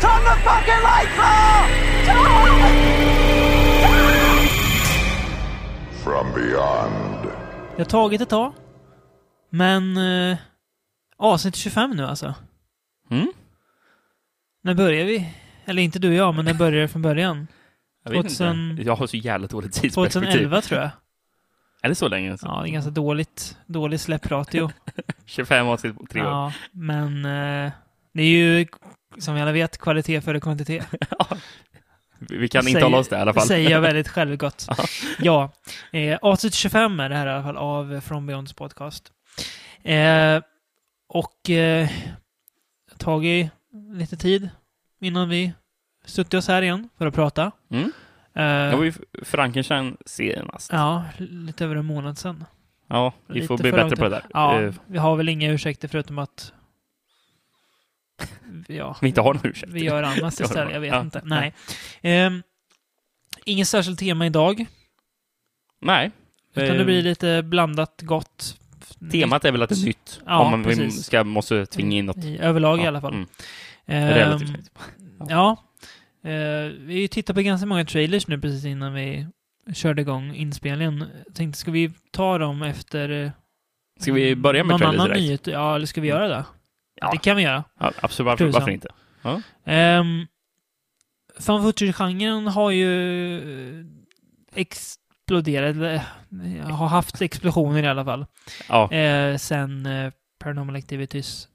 fucking Lycra! From beyond. Jag har tagit ett tag. Men... Eh, avsnitt 25 nu alltså. Mm? När börjar vi? Eller inte du och jag, men när började det från början? Jag vet 2000 inte. Jag har så jävla dåligt tidsperspektiv. 2011 tror jag. Är det så länge? Ja, det är ganska dåligt. Dålig släppratio. 25 avsnitt på tre år. Ja, men eh, det är ju som vi alla vet kvalitet före kvantitet. Vi vi kan inte hålla oss där i alla fall. Säger jag väldigt självgott. ja, eh, avsnitt 25 är det här i alla fall av From Beyonds podcast. Eh, och eh, det har tagit lite tid innan vi suttit oss här igen för att prata. Mm. Eh, Det var ju Frankenstein senast. Ja, Ja, lite över en månad sedan. vi lite får bli för bättre långt. på det där. Ja, Eh, vi har väl inga ursäkter förutom att ja, vi inte har någon ursäkt. vi gör annat Ja, istället. Jag vet ja. inte. Nej. Um, Inget särskilt tema idag, Nej. utan Eh, det blir lite blandat gott. Temat är väl att det är nytt. Ja, om man vi precis. ska, måste tvinga in något. I, i överlag i Ja, alla fall. mm. Ehm, Relativt nytt. ja. Eh, vi tittar på ganska många trailers nu precis innan vi körde igång inspelningen. Jag tänkte, ska vi ta dem efter eh, Ska vi börja med någon trailers annan direkt? Mm. nyhet? Ja, eller ska vi göra det? Ja. Det kan vi göra. Ja, absolut, varför, Tusan. varför inte? Um, fan Future-genren har ju eh, exploderat, eller eh, har haft explosioner i alla fall, Ja. eh, sen eh, Paranormal Activities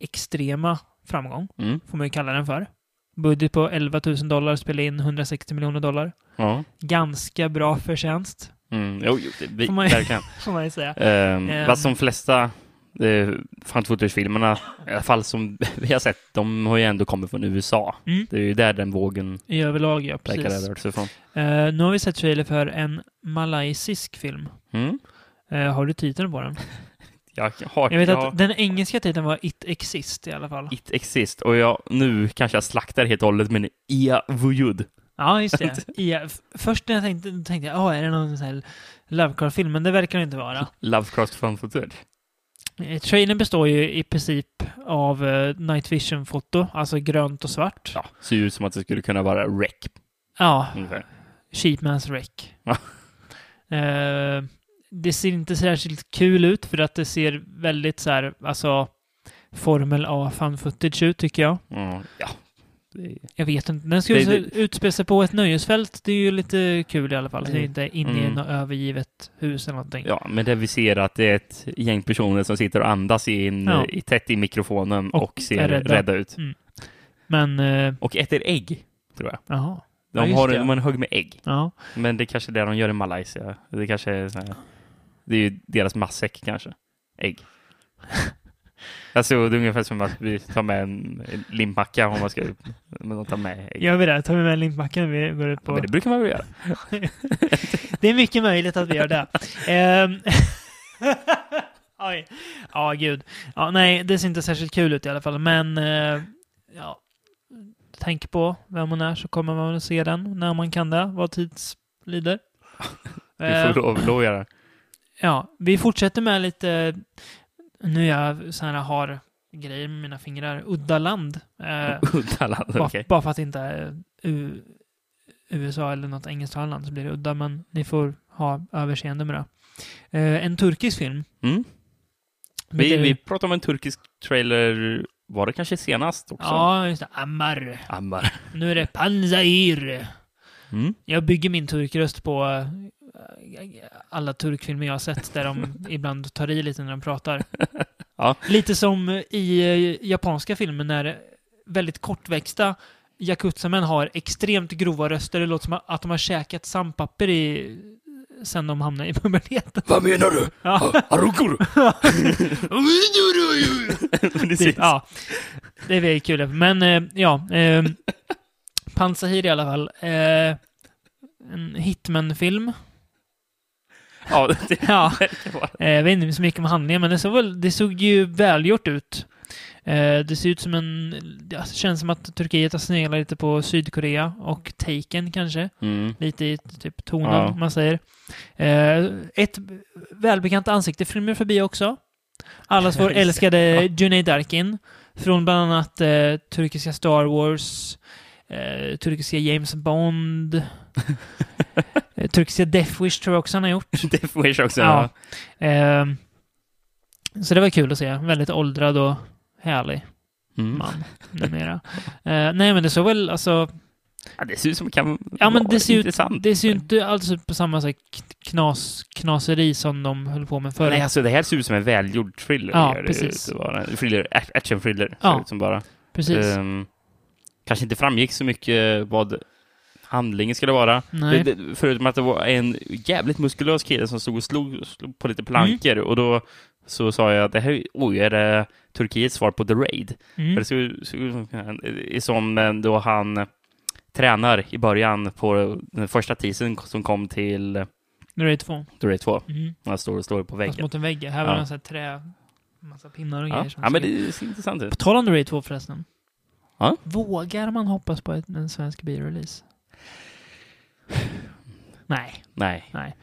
extrema framgång, Mm. får man ju kalla den för. Budget på 11 000 dollar, spelade in 160 miljoner dollar. ja. Ganska bra förtjänst, Mm. Jo, jo, det, vi, Får man ju- verkligen. får man ju säga. Ehm, Ehm. Fast de flesta eh, found footage-filmerna, i alla fall som vi har sett, de har ju ändå kommit från USA. Mm. Det är ju där den vågen I överlag, ja. verkar ha Precis. rört sig ifrån. Eh, nu har vi sett trailer för en malaysisk film. Mm. Eh, har du titeln på den? Jag har... Jag vet jag, att den engelska titeln var It Exist i alla fall. It exists och jag, nu kanske jag slaktar helt och hållet, men Ia Vujud. Ja, just det. Ja, f- först när jag tänkte, tänkte jag, "Åh, är det någon sån här Lovecraft-film? Men det verkar det inte vara. Lovecraft found footage. Eh, Trailern består ju i princip av eh, night vision-foto, alltså grönt och svart. Ja, ser ju ut som att det skulle kunna vara REC. Ja, ungefär. Sheepman's Wreck. Ja. Eh, det ser inte särskilt kul ut för att det ser väldigt så här, alltså Formel A fan footage ut tycker jag. Mm, ja. Det är- Jag vet inte. Den skulle Det- se- utspela sig på ett nöjesfält. Det är ju lite kul i alla fall. Det är Mm. inte inne i Mm. något övergivet hus eller någonting. Ja, men det vi ser att det är ett gäng personer som sitter och andas i en, eh, Ja. i, tätt i mikrofonen Och och, är ser rädda. rädda. ut. Men, eh, Och äter ägg, tror jag. jaha. Ja, De just har det. en, de har en hög med ägg. Ja. Men det är kanske är det de gör i Malaysia. Det kanske är så här, Det är ju deras matsäck kanske. Ägg. alltså, det är ungefär som att vi tar med en en limpacka om man ska... Men de tar med ägg. Gör vi det? Tar vi med limpmacken när vi går ut på... Men det brukar man väl göra? Det är mycket möjligt att vi gör det. Ehm, Oj. Ja, gud. Ja, nej, det ser inte särskilt kul ut i alla fall, men eh, ja. Tänk på vem hon är så kommer man att se den när man kan det, vad tids lider. Vi Ehm, får lov, lov att göra det. Ja, vi fortsätter med lite, nu är jag så här har grejer med mina fingrar, udda land. Eh, Udda land, bara, okej. bara för att det inte är U- USA eller något engelsktalande land så blir det udda, men ni får ha överseende med det. Eh, en turkisk film. Mm. Vi, vi pratade om en turkisk trailer, var det kanske senast också? Ja, just det. Ammar. Ammar. Nu är det Panzair. Mm. Jag bygger min turkröst på eh, alla turkfilmer jag har sett där de ibland tar i lite när de pratar. Ja. Lite som i eh, japanska filmer när väldigt kortväxta yakuzamän har extremt grova röster. Det låter som att de har käkat sandpapper i, sen de hamnade i puberteten. Vad menar du? Ja, Arukur? typ, ja. Det är väldigt kul. Men eh, ja, eh, Pansahir i alla fall. Eh, en hitman-film. Ja, det Ja. verkar vara. Eh, Jag vet inte så mycket om handlingen, men det såg, väl, det såg ju välgjort ut. Eh, Det ser ut som en... Det känns som att Turkiet har sneglat lite på Sydkorea och Taken kanske. Mm. Lite i typ tonen, Ja. man säger. Eh, Ett välbekant ansikte flimrar förbi också. Allas vår Ja, just det. älskade Junaid Darkin. Från bland annat eh, turkiska Star Wars, eh, turkiska James Bond. eh, turkiska Death Wish tror jag också han har gjort. Death Wish också. Ja. Ehm, så det var kul att se. Väldigt åldrad och härlig Mm. man numera. Eh, nej, men det såg väl alltså... ja, det ser ut som kan Ja, men vara det ser ut- intressant. Det ser ju inte alls ut på samma sätt knas, knaseri som de höll på med förr. Nej, alltså det här ser ut som en välgjord thriller. Ja, gör det precis. ut att vara. Thriller, ac- action-thriller. ser Ja, ut som bara. Precis. Ehm, kanske inte framgick så mycket vad handlingen skulle vara. nej. Det, det, förutom att det var en jävligt muskulös kille som stod och slog, slog på lite planker Mm. och då så sa jag att det här oj, är det Turkiets svar på The Raid. För mm. det såg ut- såg ut som- eh, som eh, då han tränar i början på den första teasern som kom till Nu är det två. The Raid 2. Mm. Han står och står på Fast väggen. mot en vägg. Här var Ja. det en sån här trä... Massa pinnar och Ja, grejer. som ja men skulle- det ser intressant ut. På tal om The Raid 2 förresten. Ja? Vågar man hoppas på ett- en svensk biorelease? Nej. Nej.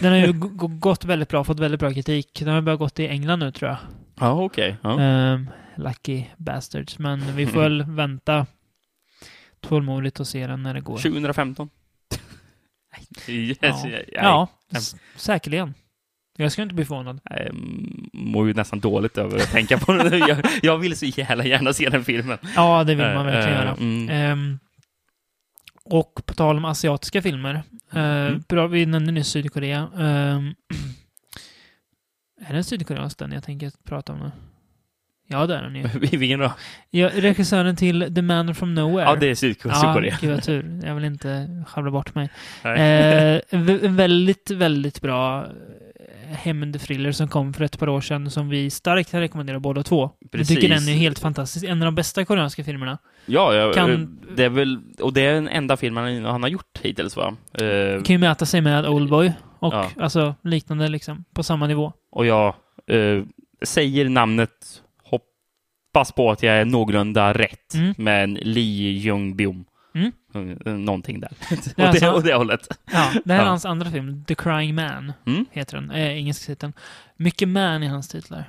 Den har ju g- g- gått väldigt bra, fått väldigt bra kritik. Den har bara gått i England nu tror jag. Ja, okej. Ja. Ehm, lucky bastards. Men vi får väl vänta tålmodigt och se den när det går. 2015. yes, Ja. jag- jag- Ja, s- säkerligen. Jag skulle inte bli förvånad. Jag eh, mår ju nästan dåligt över att tänka på det nu. Jag, jag vill så jävla gärna se den filmen. Ja, det vill man Eh, verkligen eh, göra. Mm. Ehm, och på tal om asiatiska filmer. eh, Mm. bra, vi nämnde nyss Sydkorea. Ehm, är det en sydkoreansk den jag tänker prata om nu? Ja, det är den ju. Vilken då? Ja, regissören till The Man from Nowhere. Ja, det är Sydko- Sydkorea. Ja, gud vad tur. Jag vill inte sjabbla bort mig. Nej. Eh, en vä- en väldigt, väldigt bra eh, hämndthriller som kom för ett par år sedan som vi starkt kan rekommendera båda två. Jag Precis. tycker den är helt fantastisk. En av de bästa koreanska filmerna. Ja, jag, kan- det är väl, och det är den enda filmen han, han har gjort hittills va? Eh, Kan ju mäta sig med Oldboy och Ja. alltså liknande liksom, på samma nivå. och jag eh, säger namnet, hoppas på att jag är någorlunda rätt, Mm. men Lee Jung-biom. Eh, Mm. Någonting där. Det och, är det, alltså- och det hållet. Ja, det här är Ja. hans andra film, The Crying Man, Mm. heter den. Eh, engelska titeln. Mycket man i hans titlar.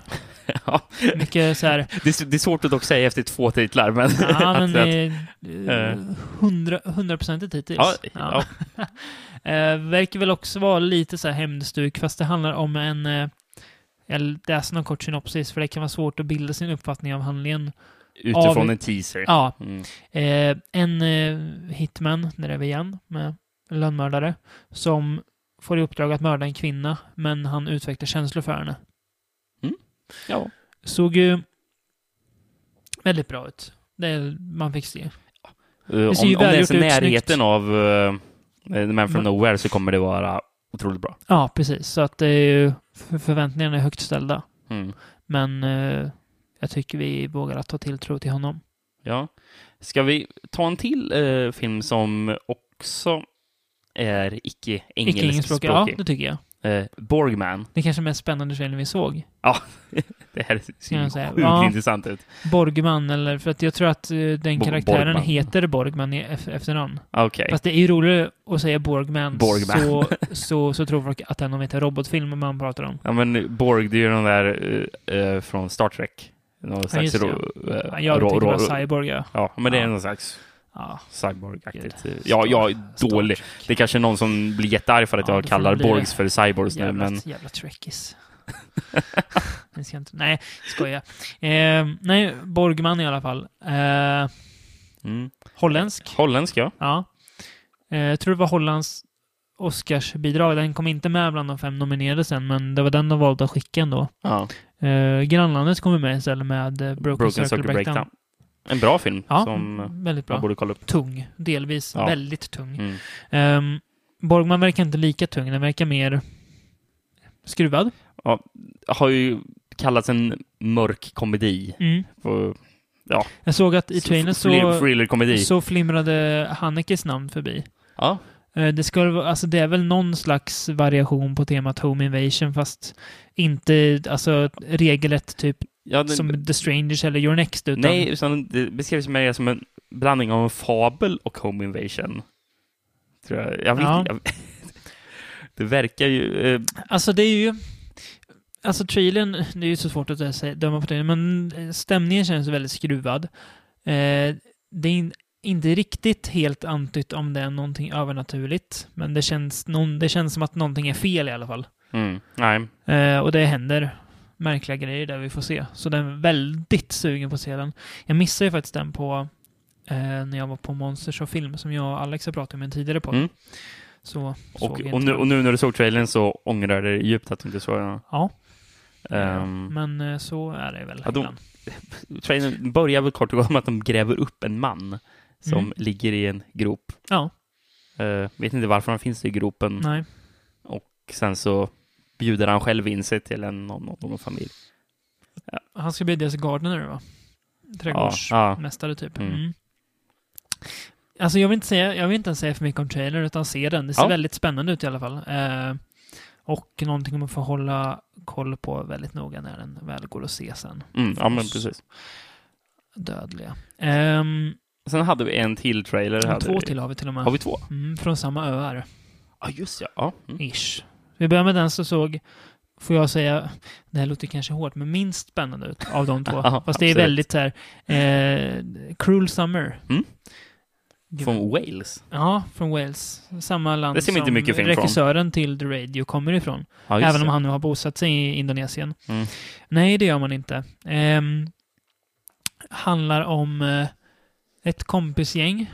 Ja. Mycket så här, Det, är- det är svårt att dock säga efter två titlar, men... ja men att- att- eh, eh. hundra- hundraprocentigt hittills. ja, Ja. ja. Eh, verkar väl också vara lite så här hämndstuk, fast det handlar om en... Eh, jag läser någon kort synopsis, för det kan vara svårt att bilda sin uppfattning av handlingen. Utifrån Av- en teaser. Ja, Mm. eh, en eh, hitman, där är vi igen, med en lönnmördare, som får i uppdrag att mörda en kvinna, men han utvecklar känslor för henne. Ja. Såg ju väldigt bra ut. Det man fick se. om, ser ju om det välgjort är i ut, närheten snyggt. av uh, The Man from Mm. Nowhere så kommer det vara otroligt bra. Ja, precis. Så att det är ju, för- förväntningarna är högt ställda. Mm. Men eh, jag tycker vi vågar att ta tilltro till honom. Ja. Ska vi ta en till eh, film som också är Icke engelskspråkig. icke-engelskspråkig? Ja, det tycker jag. Eh, Borgman. Det är kanske den mest spännande trailern vi såg. Det här ser Kan ju jag säga. sjukt Ja. intressant ut. Borgman, eller för att jag tror att eh, den Bo- karaktären Borgman. heter Borgman i eff- efternamn. Okej. Fast det är ju roligare att säga Borgman, Borgman. Så, så, så tror folk att det är någon vet robotfilm man pratar om. Ja, men Borg, det är ju den där eh, eh, från Star Trek. Någon slags just det. ro, eh, Jag ro- tänkte ro- bara cyborg, ja. Ja, men det är Ja. någon slags ja. cyborg-aktigt. Gud. Ja, jag Star är dålig. Trek. Det är kanske någon som blir jättearg för att Ja, jag det får kallar bli det. Borgs för cyborgs nu, Jävla, men... jävla trekis. Ni ska inte, nej, skoja. Eh, nej, Borgman i alla fall. Eh, Mm. holländsk. Holländsk, ja. Ja. Eh, jag tror det var Hollands Oscarsbidrag. Den kom inte med bland de fem nominerade sen, men det var den de valde att skicka ändå. ja. Eh, grannlandet kommer med istället med eh, Broken, Broken Circle, Breakdown. En bra film Ja, som eh, mm, väldigt man bra. borde kolla upp. Tung, delvis. Ja. Väldigt tung. Mm. Ehm, Borgman verkar inte lika tung, den verkar mer skruvad. Har ju kallats en mörk komedi. Mm. På, Jag såg att i trailern Thriller- så, Thriller-komedi. så flimrade Hanekes namn förbi. Ja. Eh, Det, ska, vara- alltså det är väl någon slags variation på temat Home Invasion fast inte alltså, regelrätt typ Ja, den, som The Strangers eller Your Next utan... nej, utan det beskrevs mer som en blandning av en fabel och Home Invasion. Tror jag. jag, vet, Ja. jag det verkar ju... Eh, Alltså det är ju... Alltså trailern, det är ju så svårt att säga- döma på trailern, men stämningen känns väldigt skruvad. Eh, det är in, inte riktigt helt antytt om det är någonting övernaturligt. Men det känns, någon, det känns som att någonting är fel i alla fall. Mm. Nej. Eh, och det händer märkliga grejer där vi får se. Så den är väldigt sugen på att se den. Jag missade ju faktiskt den på eh, när jag var på Monsters och film som jag och Alex har pratat om i en tidigare podd. Mm. Så såg Och, jag och, inte nu, och nu när du såg trailern så ångrar du dig djupt att du inte såg den. Ja. Ehm, Men eh, så är det väl Ja, de- ibland. trailern börjar väl kort och gott med att de gräver upp en man som Mm. ligger i en grop. Ja, Eh, vet inte varför han finns i gropen. nej. Och sen så bjuder han själv in sig till en, någon, någon, någon familj. Han ska bli deras gardener va? ja. Trädgårdsmästare typ. Mm. Mm. Alltså jag vill, inte säga, jag vill inte ens säga för mycket om trailer utan se den. Det ser Ja. väldigt spännande ut i alla fall. Eh, och någonting man får hålla koll på väldigt noga när den väl går att se sen. Mm, ja, men precis. Dödliga. Ehm, Sen hade vi en till trailer. Hade två vi. till har vi till och med. Har vi två? Mm, från samma öar. Ja, just ja. ja. Mm. Ish. Vi börjar med den som såg, får jag säga, det här låter kanske hårt, men minst spännande ut av de två. Ja, Fast det är absolut. väldigt så här, eh, Cruel Summer. Mm. Gud. Från Wales. Ja, från Wales. Samma land Det ser man inte som mycket film från. regissören till The Radio kommer ifrån. Ja, just även om det. han nu har bosatt sig i Indonesien. Mm. Nej, det gör man inte. Ehm, handlar om eh, ett kompisgäng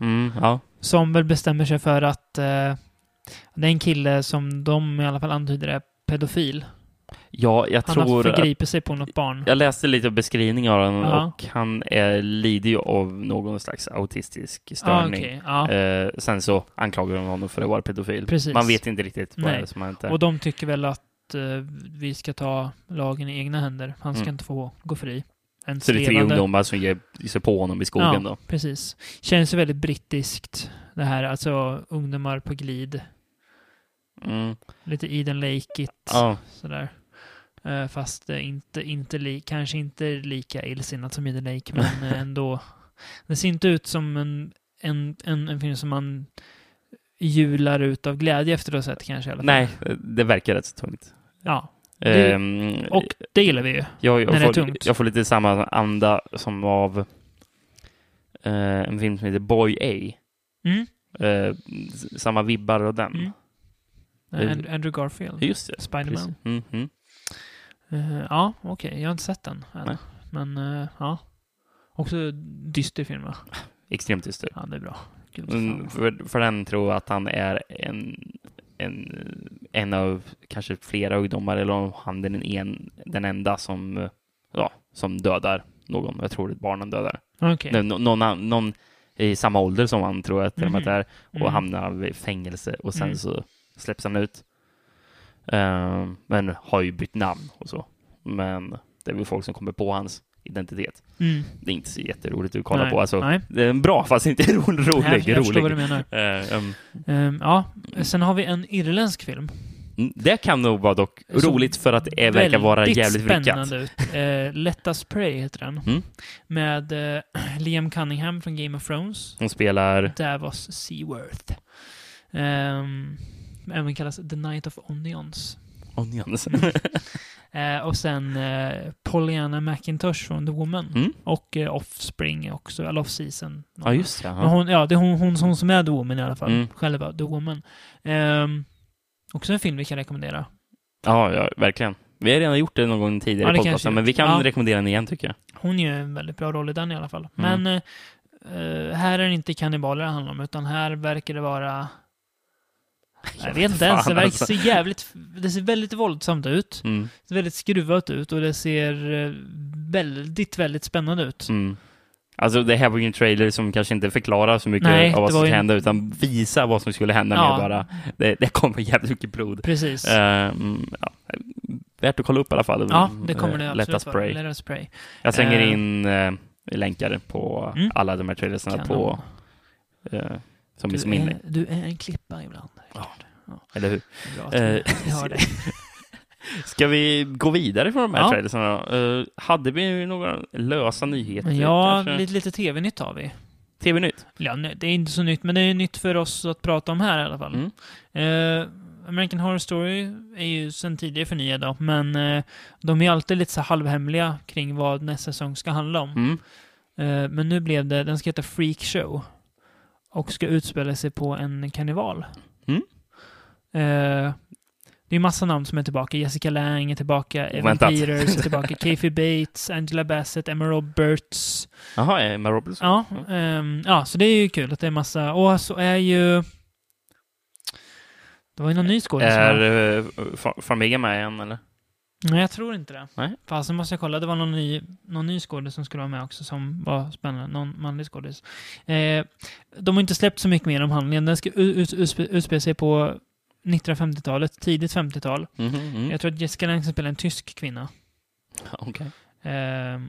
Mm, ja. som väl bestämmer sig för att eh, det är en kille som de i alla fall antyder är pedofil. ja, jag Han har tror... att- förgripit sig på något barn. Jag läste lite beskrivningar av honom Ja. och han är, lider ju av någon slags autistisk ah, störning. okej. ja. Eh, sen så anklagar de honom för att vara pedofil. Precis. Man vet inte riktigt vad Nej. det är som har hänt där. Och de tycker väl att eh, vi ska ta lagen i egna händer. Han ska Mm. inte få gå fri. Ens Så det är tre levande. ungdomar som ger sig på honom i skogen ja, då. precis. Känns ju väldigt brittiskt det här. Alltså ungdomar på glid. Mm. Lite Eden Lake-igt. Ja. Sådär. Eh, Fast eh, inte, inte li- kanske inte lika illsinnat som Eden Lake, men eh, ändå. Det ser inte ut som en, en, en, en film som man jular ut av glädje efter att ha sett kanske i alla fall. Nej, det verkar rätt så tungt. Ja, Det- Ehm, och det gillar vi ju. jag, när jag, det är får, tungt. jag får lite samma anda som av eh, en film som heter Boy A. Mm. Eh, s- samma vibbar och den. Mm. Eh, And- Andrew Garfield. Just det. Spiderman. Precis. Mm, mm. Eh, ja, okej. Jag har inte sett den än. Nej. Men eh, ja. Också dyster film va? Extremt dyster. Ja, det är bra. Gud, Mm, fan. för, för den tror jag att han är en, en, en av kanske flera ungdomar, eller om han är den, en, den enda som, ja, som dödar någon. Jag tror det är barnen dödar. Okej. Nej, nå- någon, an- någon i samma ålder som han tror jag till och med att det är, och Mm. hamnar i fängelse och sen Mm. så släpps han ut. Ehm, men har ju bytt namn och så. Men det är väl folk som kommer på hans identitet. Mm. Det är inte så jätteroligt att kolla Nej. på. Alltså, Nej. det är en bra, fast inte ro- rolig. jag, jag förstår rolig. vad du menar. Eh, ehm, Ehm, ja, sen har vi en irländsk film. mm, det kan nog vara dock Så roligt för att det verkar vara väldigt jävligt vrickat. spännande ut. Eh, Let us pray heter den. Mm. Med eh, Liam Cunningham från Game of Thrones. Hon spelar... Davos Seaworth. Ehm, även kallas The Night of Onions. Onions. Mm. Eh, och sen eh, Pollyanna McIntosh från The Woman. Mm. Och eh, Offspring också, eller Off-Season. Ja, just det. Men Ja. hon, ja, det är hon, hon, hon som är The Woman i alla fall. Mm. Själva The Woman. Ehm, också en film vi kan rekommendera. Ja, ja, verkligen. Vi har redan gjort det någon gång tidigare Ja, det i kanske podcasten, men vi kan Ja. rekommendera den igen tycker jag. Hon gör en väldigt bra roll i den i alla fall. Mm. Men eh, eh, här är det inte kannibaler det handlar om, utan här verkar det vara... Jag, vet inte ens. Det fan, verkar alltså. se jävligt... Det ser väldigt våldsamt ut. Mm. Det ser väldigt skruvat ut och det ser eh, väldigt, väldigt spännande ut. Mm. Alltså det här var ju en trailer som kanske inte förklarar så mycket Nej, av vad det som var skulle ju- hända utan visar vad som skulle hända Ja. med bara det, det kommer jävligt mycket blod. Precis. Ehm, ja. Värt att kolla upp i alla fall. ja, det kommer det Eh, absolut Let us vara. pray. Let us pray. Jag slänger Eh. in eh, länkar på Mm. alla de här trailersarna Kanon. på eh, som Du är som inlägg, är, du är en klippa ibland. Rickard. eller hur? Bra att vi vi har det. Ska vi gå vidare från de här Ja. trailersarna då? Eh, hade vi några lösa nyheter? Men ja, kanske? lite, lite tv-nytt har vi. TV-nytt? Ja, nej, det är inte så nytt, men det är nytt för oss att prata om här i alla fall. Mm. Eh, American Horror Story är ju sen tidigare förnyad då, men eh, de är alltid lite så här halvhemliga kring vad nästa säsong ska handla om. Mm. Eh, Men nu blev det, den ska heta Freak Show och ska utspela sig på en karneval. Mm. Eh, Det är massa namn som är tillbaka. Jessica Lange är tillbaka, Evan Oväntat. Peters är tillbaka, Kathy Bates, Angela Bassett, Emma Roberts. Jaha, är Emma Robertson? Ja, ehm, ja, så det är ju kul att det är massa. Och så är ju... Det var ju någon ny skådis. som var- Är eh, Fa- Farmiga med igen eller? Nej, jag tror inte det. Nej. Fast nu måste jag kolla. Det var någon ny, någon ny skådis som skulle vara med också som var spännande. Någon manlig skådis. Eh, de har inte släppt så mycket mer om handlingen. Den ska u- ut- utspe- utspela sig på 1950-talet, tidigt 50-tal. Mhm, mm. Jag tror att Jessica Lange ska spela en tysk kvinna Okej. eh,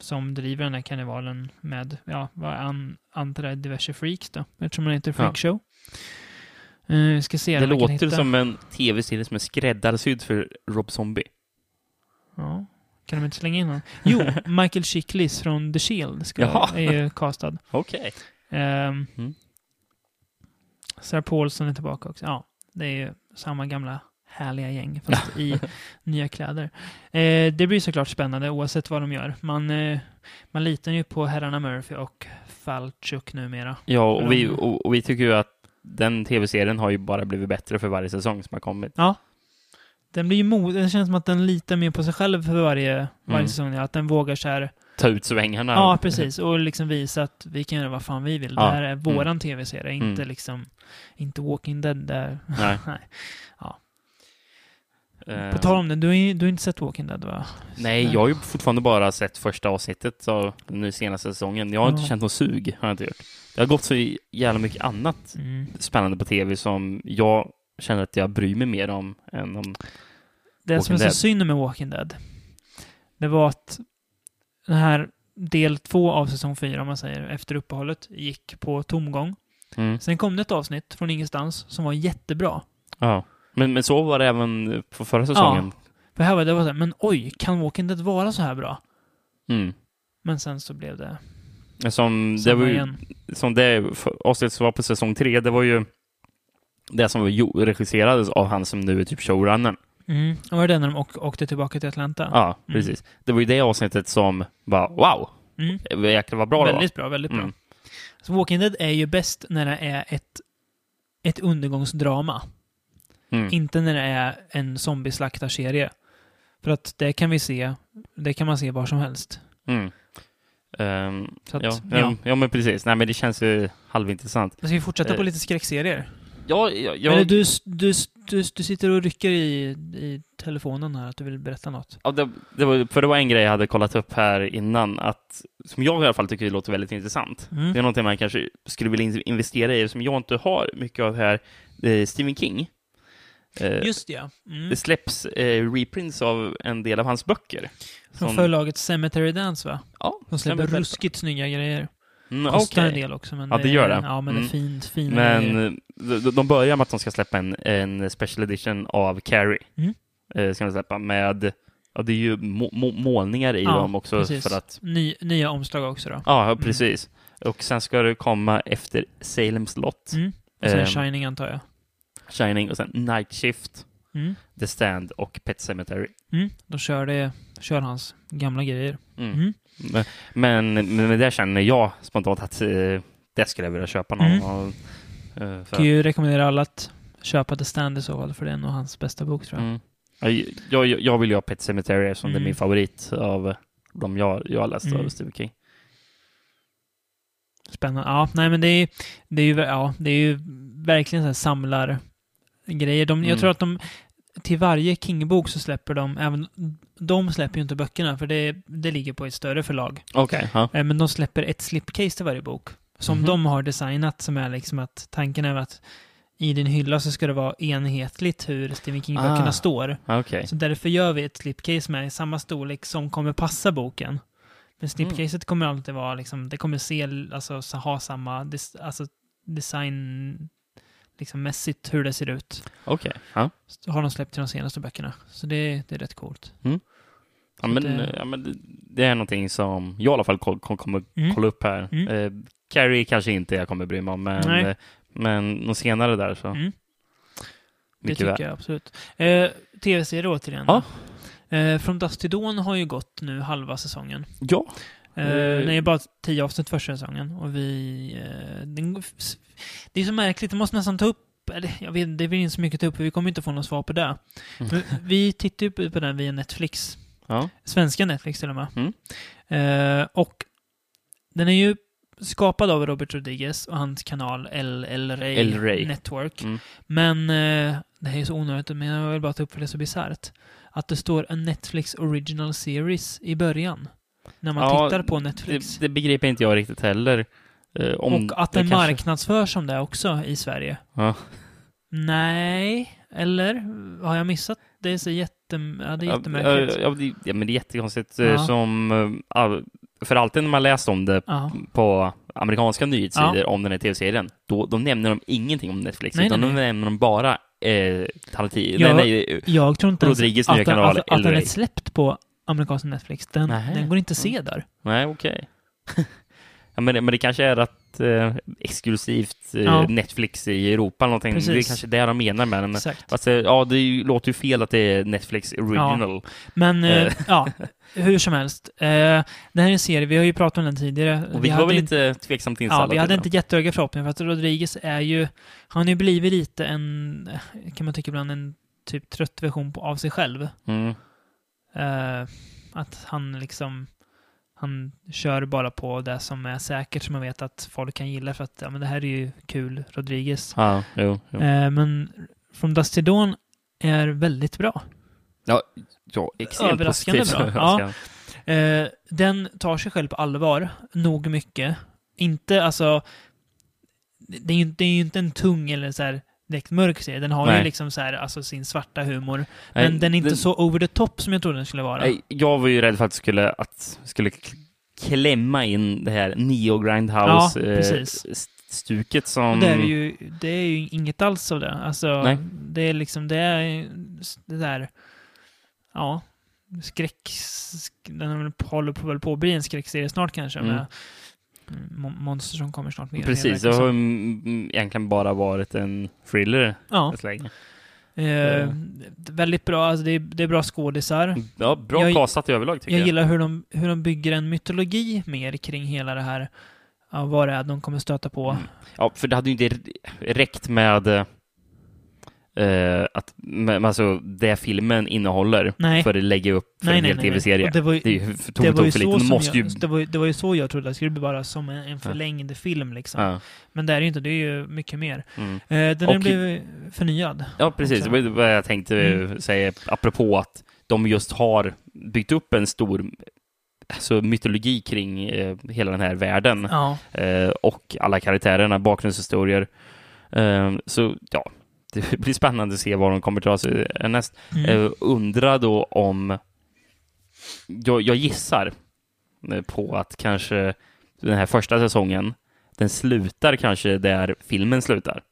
som driver den här karnevalen med, ja, vad an, antar jag, diverse freaks då. Eftersom den heter Freak Show. Eh, jag ska se Det om jag kan låter hitta- som en tv-serie som är skräddarsydd för Rob Zombie. Ja. Kan de inte slänga in honom? Jo, Michael Chiklis från The Shield ska, Jaha. är ju castad. Okej. Ehm, Mm. Sarah Paulson är tillbaka också. Ja, det är ju samma gamla härliga gäng, fast i nya kläder. Eh, det blir såklart spännande oavsett vad de gör. Man, eh, man litar ju på herrarna Murphy och Falchuk numera. Ja, För och vi, de- och, och vi tycker ju att den tv-serien har ju bara blivit bättre för varje säsong som har kommit. Den blir ju mod, det känns som att den litar mer på sig själv för varje, varje Mm. säsong. Att den vågar så här Ta ut svängarna. Ja, precis. Och liksom visa att vi kan göra vad fan vi vill. Ja. Det här är våran tv-serie, inte Mm. liksom... Inte Walking Dead där. Nej. Eh, På tal om det, du har, ju- du har inte sett Walking Dead va? Nej, jag har ju fortfarande bara sett första avsnittet av den nu senaste säsongen. Jag har inte Ja. känt någon sug, har jag inte gjort. Det har gått så jävla mycket annat Mm. spännande på tv som jag känner att jag bryr mig mer om än om... Det som är Walking så Dead. synd med Walking Dead, det var att den här del två av säsong fyra, om man säger, efter uppehållet, gick på tomgång. Mm. Sen kom det ett avsnitt från ingenstans som var jättebra. Ja. Men, men så var det även på förra säsongen. För här var det, det var så här, men oj, kan Walking Dead vara så här bra? Mm. Men sen så blev det Men Som, det samma var ju, igen. som det avsnittet som var på säsong tre, det var ju det som var ju- regisserades av han som nu är typ showrunnern. Mm. Och var det när de åk- åkte tillbaka till Atlanta? Ja, Mm. precis. Det var ju det avsnittet som bara wow, Mm. jäklar vad bra det var. Väldigt bra, väldigt bra. Mm. Så Walking Dead är ju bäst när det är ett, ett undergångsdrama. Mm. Inte när det är en zombieslaktarserie. För att det kan vi se, det kan man se var som helst. Mm. Ehm, Så att, ja, ja. ja. ja, men precis. Nej, men det känns ju halvintressant. Ska vi fortsätta på Eh, lite skräckserier? Ja, ja, ja, Eller du, du, du, du sitter och rycker i, i telefonen här att du vill berätta något. ja, det, det var, för det var en grej jag hade kollat upp här innan, att, som jag i alla fall tycker låter väldigt intressant. Mm. Det är någonting man kanske skulle vilja in- investera i, som jag inte har mycket av här. Det är Stephen King. Eh, Just det, ja. Mm. Det släpps eh, reprints av en del av hans böcker. Från förlaget Cemetery Dance, va? ja, De släpper stämmer väl. ruskigt snygga grejer. Mm, Kostar okej. en del också, men Ja, det gör är- det. Ja, men det är Mm. fint, fina grejer. Men eh, de- de börjar med att de ska släppa en, en special edition av Carrie. Mm. Eh, Ska de släppa med, ja det är ju må, må, målningar i Ja, dem också precis. Mm. för att, Ny, nya omslag också då. ja precis. Och sen ska det komma efter Salem slott, Mm. Och sen Ehm. Shining antar jag. Shining och sen Night Shift, Mm. The Stand och Pet Cemetery. Mm. Då kör, det, kör hans gamla grejer. Mm. Mm. Men, men, men det känner jag spontant att eh, det skulle jag vilja köpa någon Mm. av. eh, för- Kan ju rekommendera alla att köpa The Stand i så fall, för det är nog hans bästa bok tror jag. Mm. Ja, Jag, jag, jag vill ju ha Pet Cemetery eftersom det Mm. är min favorit av eh, de jag, jag har läst Mm. av Stephen King. Spännande. Ja, nej men det är, det är ju, ja, det är ju verkligen så här samlar grejer. De, Jag Mm. tror att de till varje King-bok så släpper de, även de släpper ju inte böckerna för det, det ligger på ett större förlag. Okej. ja. Eh, Men de släpper ett slipcase till varje bok. Som Mhm. de har designat som är liksom att tanken är att i din hylla så ska det vara enhetligt hur Stephen King-böckerna Ah. står. Okej. Så därför gör vi ett slipcase med samma storlek som kommer passa boken. Mm. Men slipcaset kommer alltid vara liksom, det kommer se, alltså så- ha samma, des, alltså design, liksom mässigt hur det ser ut. Okej. Ja. Så har de släppt till de senaste böckerna. Så det, det är rätt coolt. Ja, men, det- eh, ja, men det- det är någonting som jag i alla fall ko- ko- kommer Mm. kolla upp här. Mm. Eh, Carrie kanske inte jag kommer bry mig om, men, Nej. eh, men något senare där så. Mm. Det Mycket tycker väl. jag absolut. Eh, Tv-serier återigen. Ja. Eh, From Dust till Dawn har ju gått nu halva säsongen. Ja. Eh, Mm. Det är bara tio avsnitt första säsongen och vi... eh, den, det är så märkligt, det måste nästan ta upp... Eller, jag vet, det blir inte så mycket att ta upp, för vi kommer inte få något svar på Mm. det. Men vi tittar ju på på den via Netflix. Ja. Svenska Netflix till och med. Mm. Eh, och den är ju skapad av Robert Rodriguez och hans kanal LL Rey, El Rey. Network. Mm. Men eh, det här är så onödigt, men jag vill bara ta upp för det är så bisarrt. Att det står en Netflix Original Series i början. När man Ja, tittar på Netflix. Det, det begriper inte jag riktigt heller. Eh, om och att det den kanske- marknadsförs som det också i Sverige. Ja. Nej, eller? Har jag missat? Det är så jättem... Ja, det är jättemärkligt. Ja, ja, det- ja, men det är jättekonstigt. eh, Ja. Som, eh, all- för alltid när man läst om det Ja. på amerikanska nyhetssidor om den här tv-serien, då de nämner de ingenting om Netflix, Nej, utan nej, de nämner de bara eh, Tarantino. Ja. Nej, nej, eh, Jag tror inte ens Rodriguez nya att, den- kanal, att, att den LRA. är släppt på amerikansk Netflix. Den, Nej. Mm. den går inte att se där. nej okej. ja, men, det- men det kanske är att eh, exklusivt eh, Ja. Netflix i Europa eller någonting. Precis. Det är kanske det de menar med den. Exakt. Alltså, ja, det är ju- låter ju fel att det är Netflix original. Men eh, Eh. ja, hur som helst. Eh, det här är en serie, vi har ju pratat om den tidigare. Och vi, var Eh, hade väl inte- lite tveksamt Ja, inställda vi hade till inte jättehöga förhoppningar för att Rodriguez är ju, han har ju blivit lite en, eh, kan man tycka ibland, en typ trött version på, av sig själv. den. Mm. Eh, att han liksom, han kör bara på det som är säkert som man vet att folk kan gilla för att ja, men det här är ju kul, Rodriguez. Ja, jo, jo. Eh, men From Dust Till Dawn är väldigt bra. Ja, extremt Överraskande positivt. bra. Ja. Eh, den tar sig själv på allvar, nog mycket. Inte, alltså... Det är ju, det är ju inte en tung eller så här direkt mörk serie. Den har Nej. ju liksom så här, alltså sin svarta humor. Nej, Men den är inte den- så over the top som jag trodde den skulle vara. Nej, Jag var ju rädd för att det skulle, att skulle k- klämma in det här Neo Grindhouse Ja, eh, precis. st- stuket som... Och det, är ju, det är ju inget alls av det. Alltså, Nej. det är liksom, det är det där... Ja. Skräck... sk- Den håller på, väl på att bli en skräckserie snart kanske. Mm. Med mm, mon- monster som kommer snart. mer och mer, Precis, verkar det har som. ju mm, egentligen bara varit en thriller Ja. ett länge. Eh, d- väldigt bra, alltså det, är, det är bra skådisar. Ja, bra Jag- castat i överlag tycker Jag jag. gillar hur de, hur de bygger en mytologi mer kring hela det här, ja, vad det är de kommer stöta på. Mm. Ja, för det hade ju inte r- räckt med eh, att, med, alltså, det filmen innehåller Nej. för att lägga upp för Nej, en nej, hel nej, nej. tv-serie. Och det var ju- Det är ju för- Det tog var, ju tog för lite. så De som måste ju... jag, det, var, ju- det var ju så jag trodde, det skulle bli bara som en, en förlängd film liksom. Ja, Men det är det ju inte, det är ju mycket mer. mm. Eh, den har Och- blivit förnyad. Ja, precis. Också. Det var ju vad jag tänkte eh, Mm. säga apropå att de just har byggt upp en stor alltså, mytologi kring eh, hela den här världen Ja, eh, och alla karaktärerna, bakgrundshistorier. Eh, så ja, det blir spännande att se vad de kommer ta sig näst. mm. Eh, undrar då om... Jag, jag gissar eh, på att kanske den här första säsongen, den slutar kanske där filmen slutar.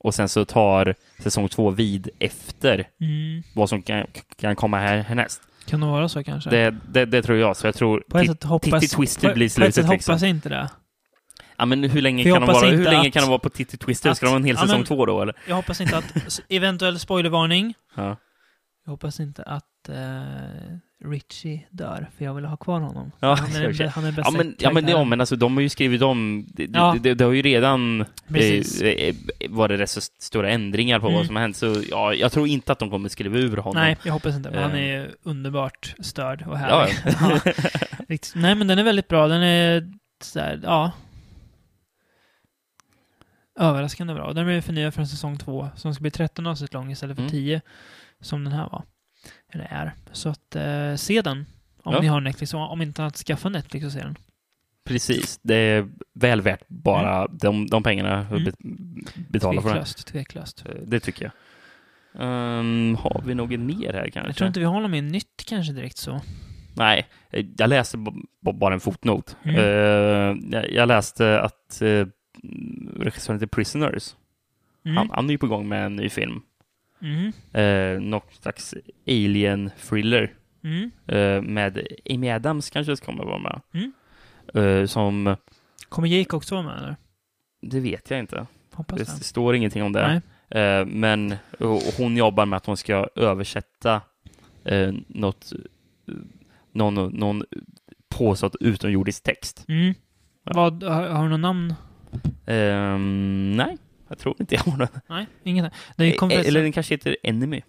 Och sen så tar säsong två vid efter Mm. vad som kan, kan komma här, härnäst. Kan det vara så kanske? Det, det, det tror jag, så jag tror... på ett ti- sätt hoppas, Titty Twister på- blir på ett slutet, sätt hoppas liksom. jag inte det. ja, men hur länge, För jag kan de, hoppas vara, hur inte länge att- kan de vara på Titty Twister? Ska att- de ha en hel ja, säsong men- två då, eller? Jag hoppas inte att, s- eventuell spoilervarning, Ja. Jag hoppas inte att eh, Richie dör, för jag vill ha kvar honom. Ja, han, är, okej. den- han är bästa Ja men, ja men det karaktären. om, men alltså de har ju skrivit om, det, det- Ja. det, det har ju redan Precis. eh, eh, var det rätt så stora ändringar på Mm. vad som har hänt, så ja, jag tror inte att de kommer skriva ur honom. Nej, jag hoppas inte. Men han Eh. är underbart störd och Ja, härlig. ja. Ja, riktigt. Nej, men den är väldigt bra. Den är sådär, ja. Överraskande bra. Den blev förnyad från säsong två, som ska bli 13 avsnitt lång istället för Mm. 10, som den här var. Eller är. Så att, eh, se den. Om Ja. ni har Netflix, och om inte annat, skaffa Netflix och se den. Precis, det är väl värt bara de, de pengarna Mm. mm. betala för det. Tveklöst, tveklöst. Eh, Det tycker jag. Ehm, har vi något mer här kanske? Jag tror inte vi har något mer nytt kanske direkt så. Mm, Nej, eh, jag läste b- b- bara en fotnot. Mm. Eh, jag- jag läste att eh, regissören till Prisoners, Mm. han, han är ju på gång med en ny film. Mm. Uh, något slags alien-thriller. Mm. eh, med Amy Adams kanske ska kommer vara med. Mm. Eh, som, Kommer Jake också vara med eller? det vet jag inte. Hoppas Det det. står ingenting om det. Nej. Eh, men och hon jobbar med att hon ska översätta eh, något, eh, någon, någon påstått utomjordisk text. Mm. Ja. Vad, har, har du något namn? Ehm, nej, jag tror inte jag har den. Nej, inget. Det kom E- förresten- Eller den kanske heter Enemy.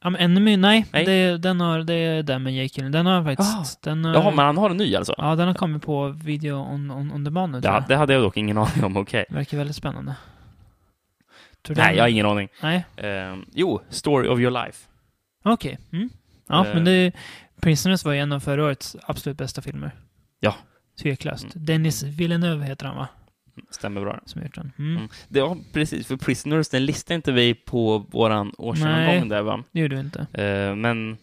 Ja, men Enemy, nej. Nej. Det, den har, det är den med Jake Gyllenhaal. Den har jag faktiskt... Den har, Jaha, men han har en ny alltså? Ja, den har kommit på video on, on, on demand nu, tror Ja, jag. det hade jag dock ingen aning om, okej. Verkar väldigt spännande. Tror Nej, den- jag har ingen aning. Nej, Ehm, jo, Story of your life. okej. Mm. Ja, Eh. men det... Prisoners var ju en av förra årets absolut bästa filmer. Ja. Mm. Tveklöst. Dennis Villeneuve heter han, va? Stämmer bra. Som har gjort den. Mm. Mm. Det var precis, för Prisoners, den listade inte vi på våran Nej. årsgenomgång där va? Det gjorde du inte. Eh, men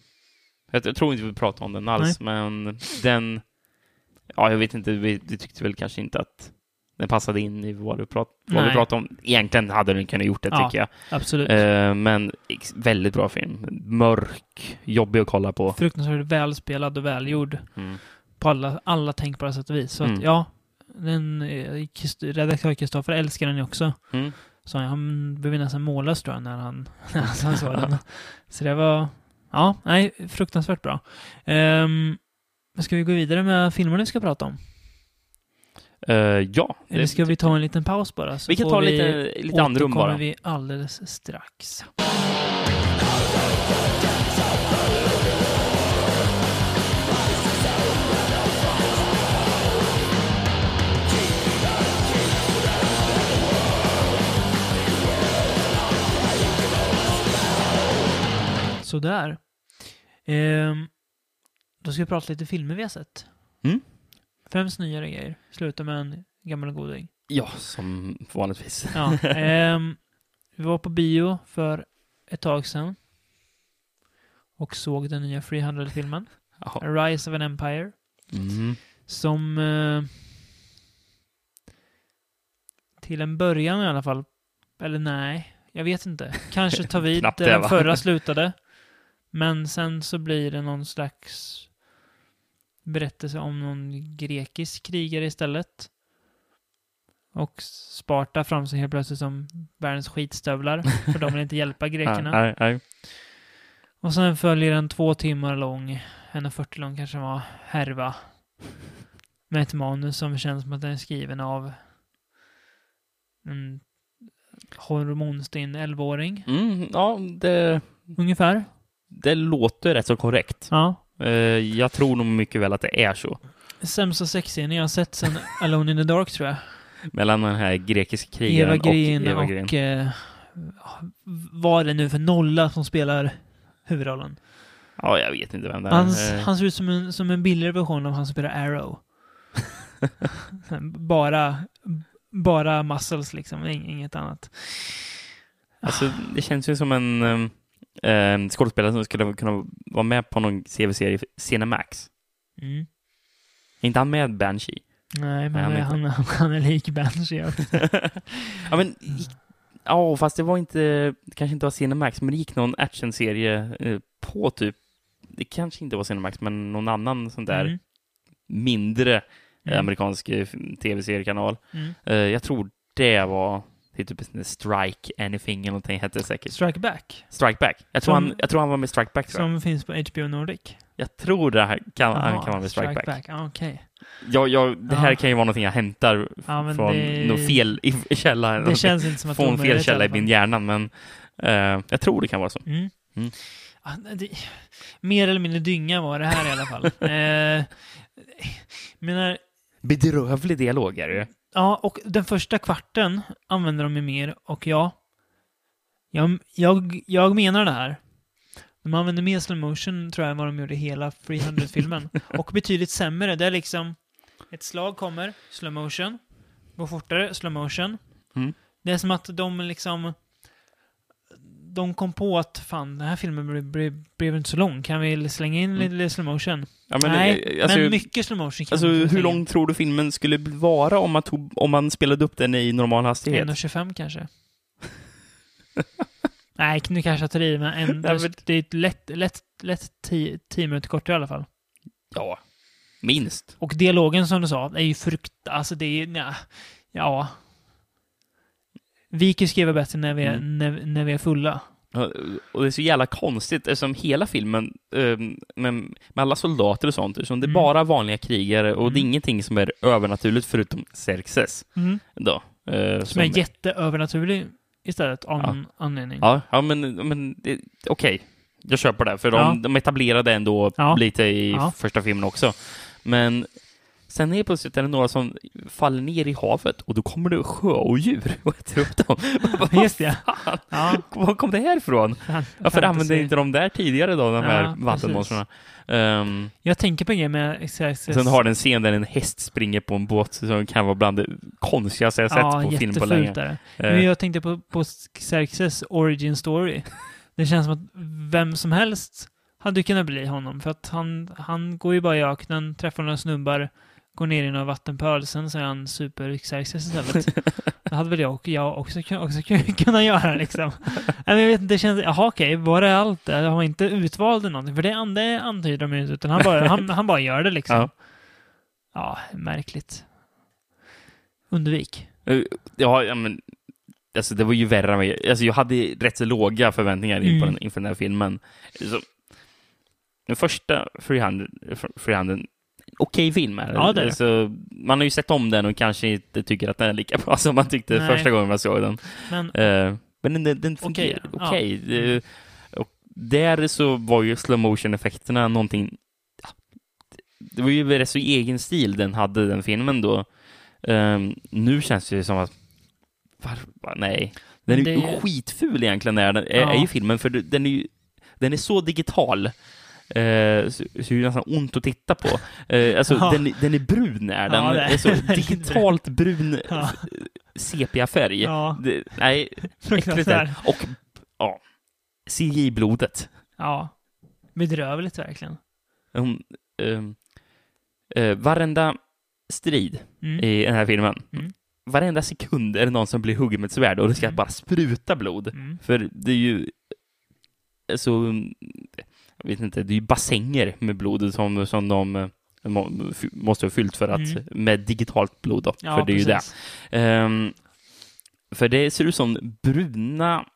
jag, jag tror inte vi pratade om den alls, men den... Ja, jag vet inte, vi, vi tyckte väl kanske inte att den passade in i vad, du prat, vad vi Nej. pratade om. Egentligen hade den kunnat gjort det, Ja. tycker jag. Absolut. Eh, men ex- väldigt bra film. Mörk, jobbig att kolla på. Fruktansvärt välspelad och välgjord Mm. på alla, alla tänkbara sätt och vis. Så Mm. att, ja, den, eh, Krist- redaktör Kristoffer älskar den ju också. Mm. Så han blev nästan mållös tror jag när han, när han såg den. Så det var, ja, nej, fruktansvärt bra. Um, ska vi gå vidare med filmerna vi ska prata om? Eh, ja, Eller det, ska vi ta en liten paus bara? Så vi kan får ta lite, lite andrum återkommer bara. vi alldeles strax. Sådär. Ehm, då ska vi prata lite filmer vi har sett. Mm. Främst nyare grejer. Sluta med en gammal goding. Ja, som vanligtvis. Ja, ehm, vi var på bio för ett tag sedan. Och såg den nya Freehandled-filmen. Ja. Rise of an Empire. Mm. Som... Eh, till en början i alla fall. Eller nej, jag vet inte. Kanske tar vid Knappt där det, den va? förra slutade. Men sen så blir det någon slags berättelse om någon grekisk krigare istället. Och Sparta framstår helt plötsligt som världens skitstövlar, för de vill inte hjälpa grekerna. Nej, nej. Och sen följer en två timmar lång, 1.40 lång kanske den var, härva. Med ett manus som känns som att den är skriven av en hormonstinn 11-åring, Mm, ja, det, ungefär. det låter rätt så korrekt. Ja. Eh, jag tror nog mycket väl att det är så. Sämsta sexscenen jag har sett sen Alone in the Dark tror jag. Mellan den här grekiska krigaren Eva Green och Eva och, Green. eh, vad är det nu för nolla som spelar huvudrollen? Ja, jag vet inte vem det är. Hans, Eh, han ser ut som en, som en billigare version av han som spelar Arrow. bara, bara muscles liksom, ing- inget annat. Alltså, det känns ju som en ehm, ehm, skådespelare som skulle kunna vara med på någon CV-serie, Cinemax. Mm. Är inte han med Banshee? Nej, Nej, men han är han, han, han är lik Banshee. också. ja, men... gick- Ja, fast det var inte... Det kanske inte var Cinemax, men det gick någon actionserie eh, på typ... Det kanske inte var Cinemax, men någon annan sån där Mm. mindre eh, Mm. amerikansk eh, tv-seriekanal. Mm. Eh, jag tror det var det är typ en sån där Strike Anything eller någonting hette det säkert. Strike Back, Strike Back. Jag tror, Som- han, jag tror han var med Strike Back. tror jag. som finns på HBO Nordic. Jag tror det här kan, han Jaha, kan vara med Strike, Back. Ah, Okej. Jag, jag, det här Ja. kan ju vara någonting jag hämtar Ja, men från det- någon fel i, i källa. eller Det någonting. känns inte som att det är från fel omöjligt källa i alla fall. min hjärna, men eh, jag tror det kan vara så. Mm. Mm. Ah, nej, det, mer eller mindre dynga var det här i alla fall. eh, menar, Bedrövlig dialog är det ju. ja, och den första kvarten använder de ju mer och ja, jag, jag, jag menar det här. De använder mer slow motion tror jag än vad de gjorde i hela 300-filmen. och betydligt sämre. Det är liksom ett slag kommer, slow motion. Går fortare, slow motion. Mm. Det är som att de liksom... De kom på att fan, den här filmen blev, blev, blev inte så lång. Kan vi slänga in Mm. lite slow motion? Ja, men, Nej, eh, alltså, men mycket slow motion kan alltså, vi slänga hur in. lång tror du filmen skulle vara om man, tog, om man spelade upp den i normal hastighet? 1,25 kanske. Nej, nu kanske jag tar i, men, en, Nej, men- det är ett lätt, lätt, lätt 10 minuter kortare i alla fall. Ja, minst. Och dialogen som du sa, är ju frukt... Alltså det är ju... nja, Mm. Ja. Vi kan ju skriva bättre när vi är, när, när vi är fulla. Och det är så jävla konstigt eftersom hela filmen eh, med, med alla soldater och sånt, eftersom det är Mm. bara vanliga krigare och det är Mm. ingenting som är övernaturligt förutom Xerxes. Mm. Då, eh, Som är jätteövernaturlig istället av Ja. någon anledning. Ja, ja men, men det- okej. Jag köper det, för de, Ja. de etablerade ändå Ja. lite i Ja. första filmen också. Men sen helt plötsligt är det några som faller ner i havet och då kommer det sjöodjur och äter upp dem. Vad Just det. fan? Ja, Var kom det här ifrån? fan- Varför använde fantasy. inte de där tidigare då, de här Ja, vattenmonstren? Ehm, Jag tänker på en grej med Xerxes. sen har den scen där en häst springer på en båt som kan vara bland det konstigaste jag sett ja, på film på jättefult länge. är det. Eh, Men jag tänkte på, på Xerxes origin story. Det känns som att vem som helst hade kunnat bli honom. För att han, han går ju bara i öknen, träffar några snubbar, går ner i några vattenpöl, sen så är han super Xerxes istället. det hade väl jag, och jag också, kun- också kun- kunnat göra liksom. Nej, men jag vet inte, det känns, jaha okej, var det allt det? Har inte utvald eller någonting? För det, an- det antyder de ju inte, utan han bara, han, han bara gör det liksom. Ja. Ja, märkligt. Undvik. Ja, ja, men alltså, det var ju värre än vad jag... Alltså, jag hade rätt så låga förväntningar in på Mm. den, inför den här filmen. Så, den första Freehand, Freehanden, okej film är Ja, det är det. alltså, Man har ju sett om den och kanske inte tycker att den är lika bra som man tyckte Nej. första gången man såg den. Men Eh, men den, den, den Okej, fungerar ja. okej. Mm. Eh, och där så var ju slow motion effekterna någonting... ja, Det var ju rätt så egen stil den hade, den filmen då. Eh, nu känns det ju som att... Var, var, nej. Den är Det ju är- skitful egentligen, är, den, är, Ja. är ju filmen, för den är ju... Den är så digital. Eh, så, så är det nästan ont att titta på. Eh, alltså, Ja. den, den är brun, är den. Ja, det det är- är så den är brun. digitalt brun Ja. sepia-färg. Ja. Det, nej, äckligt Fruktansvärt. där. Och, ja, CGI-blodet. Ja. Bedrövligt verkligen. Hon, ehm, eh, varenda strid Mm. i den här filmen, Mm. varenda sekund är det någon som blir huggen med ett svärd och det ska Mm. bara spruta blod. Mm. För det är ju, alltså, mm, jag vet inte, det är ju bassänger med blod som, som de eh, må, fy- måste ha fyllt för att, Mm. med digitalt blod då, Ja, för det är ju det. precis. Ehm, för det ser ut som bruna...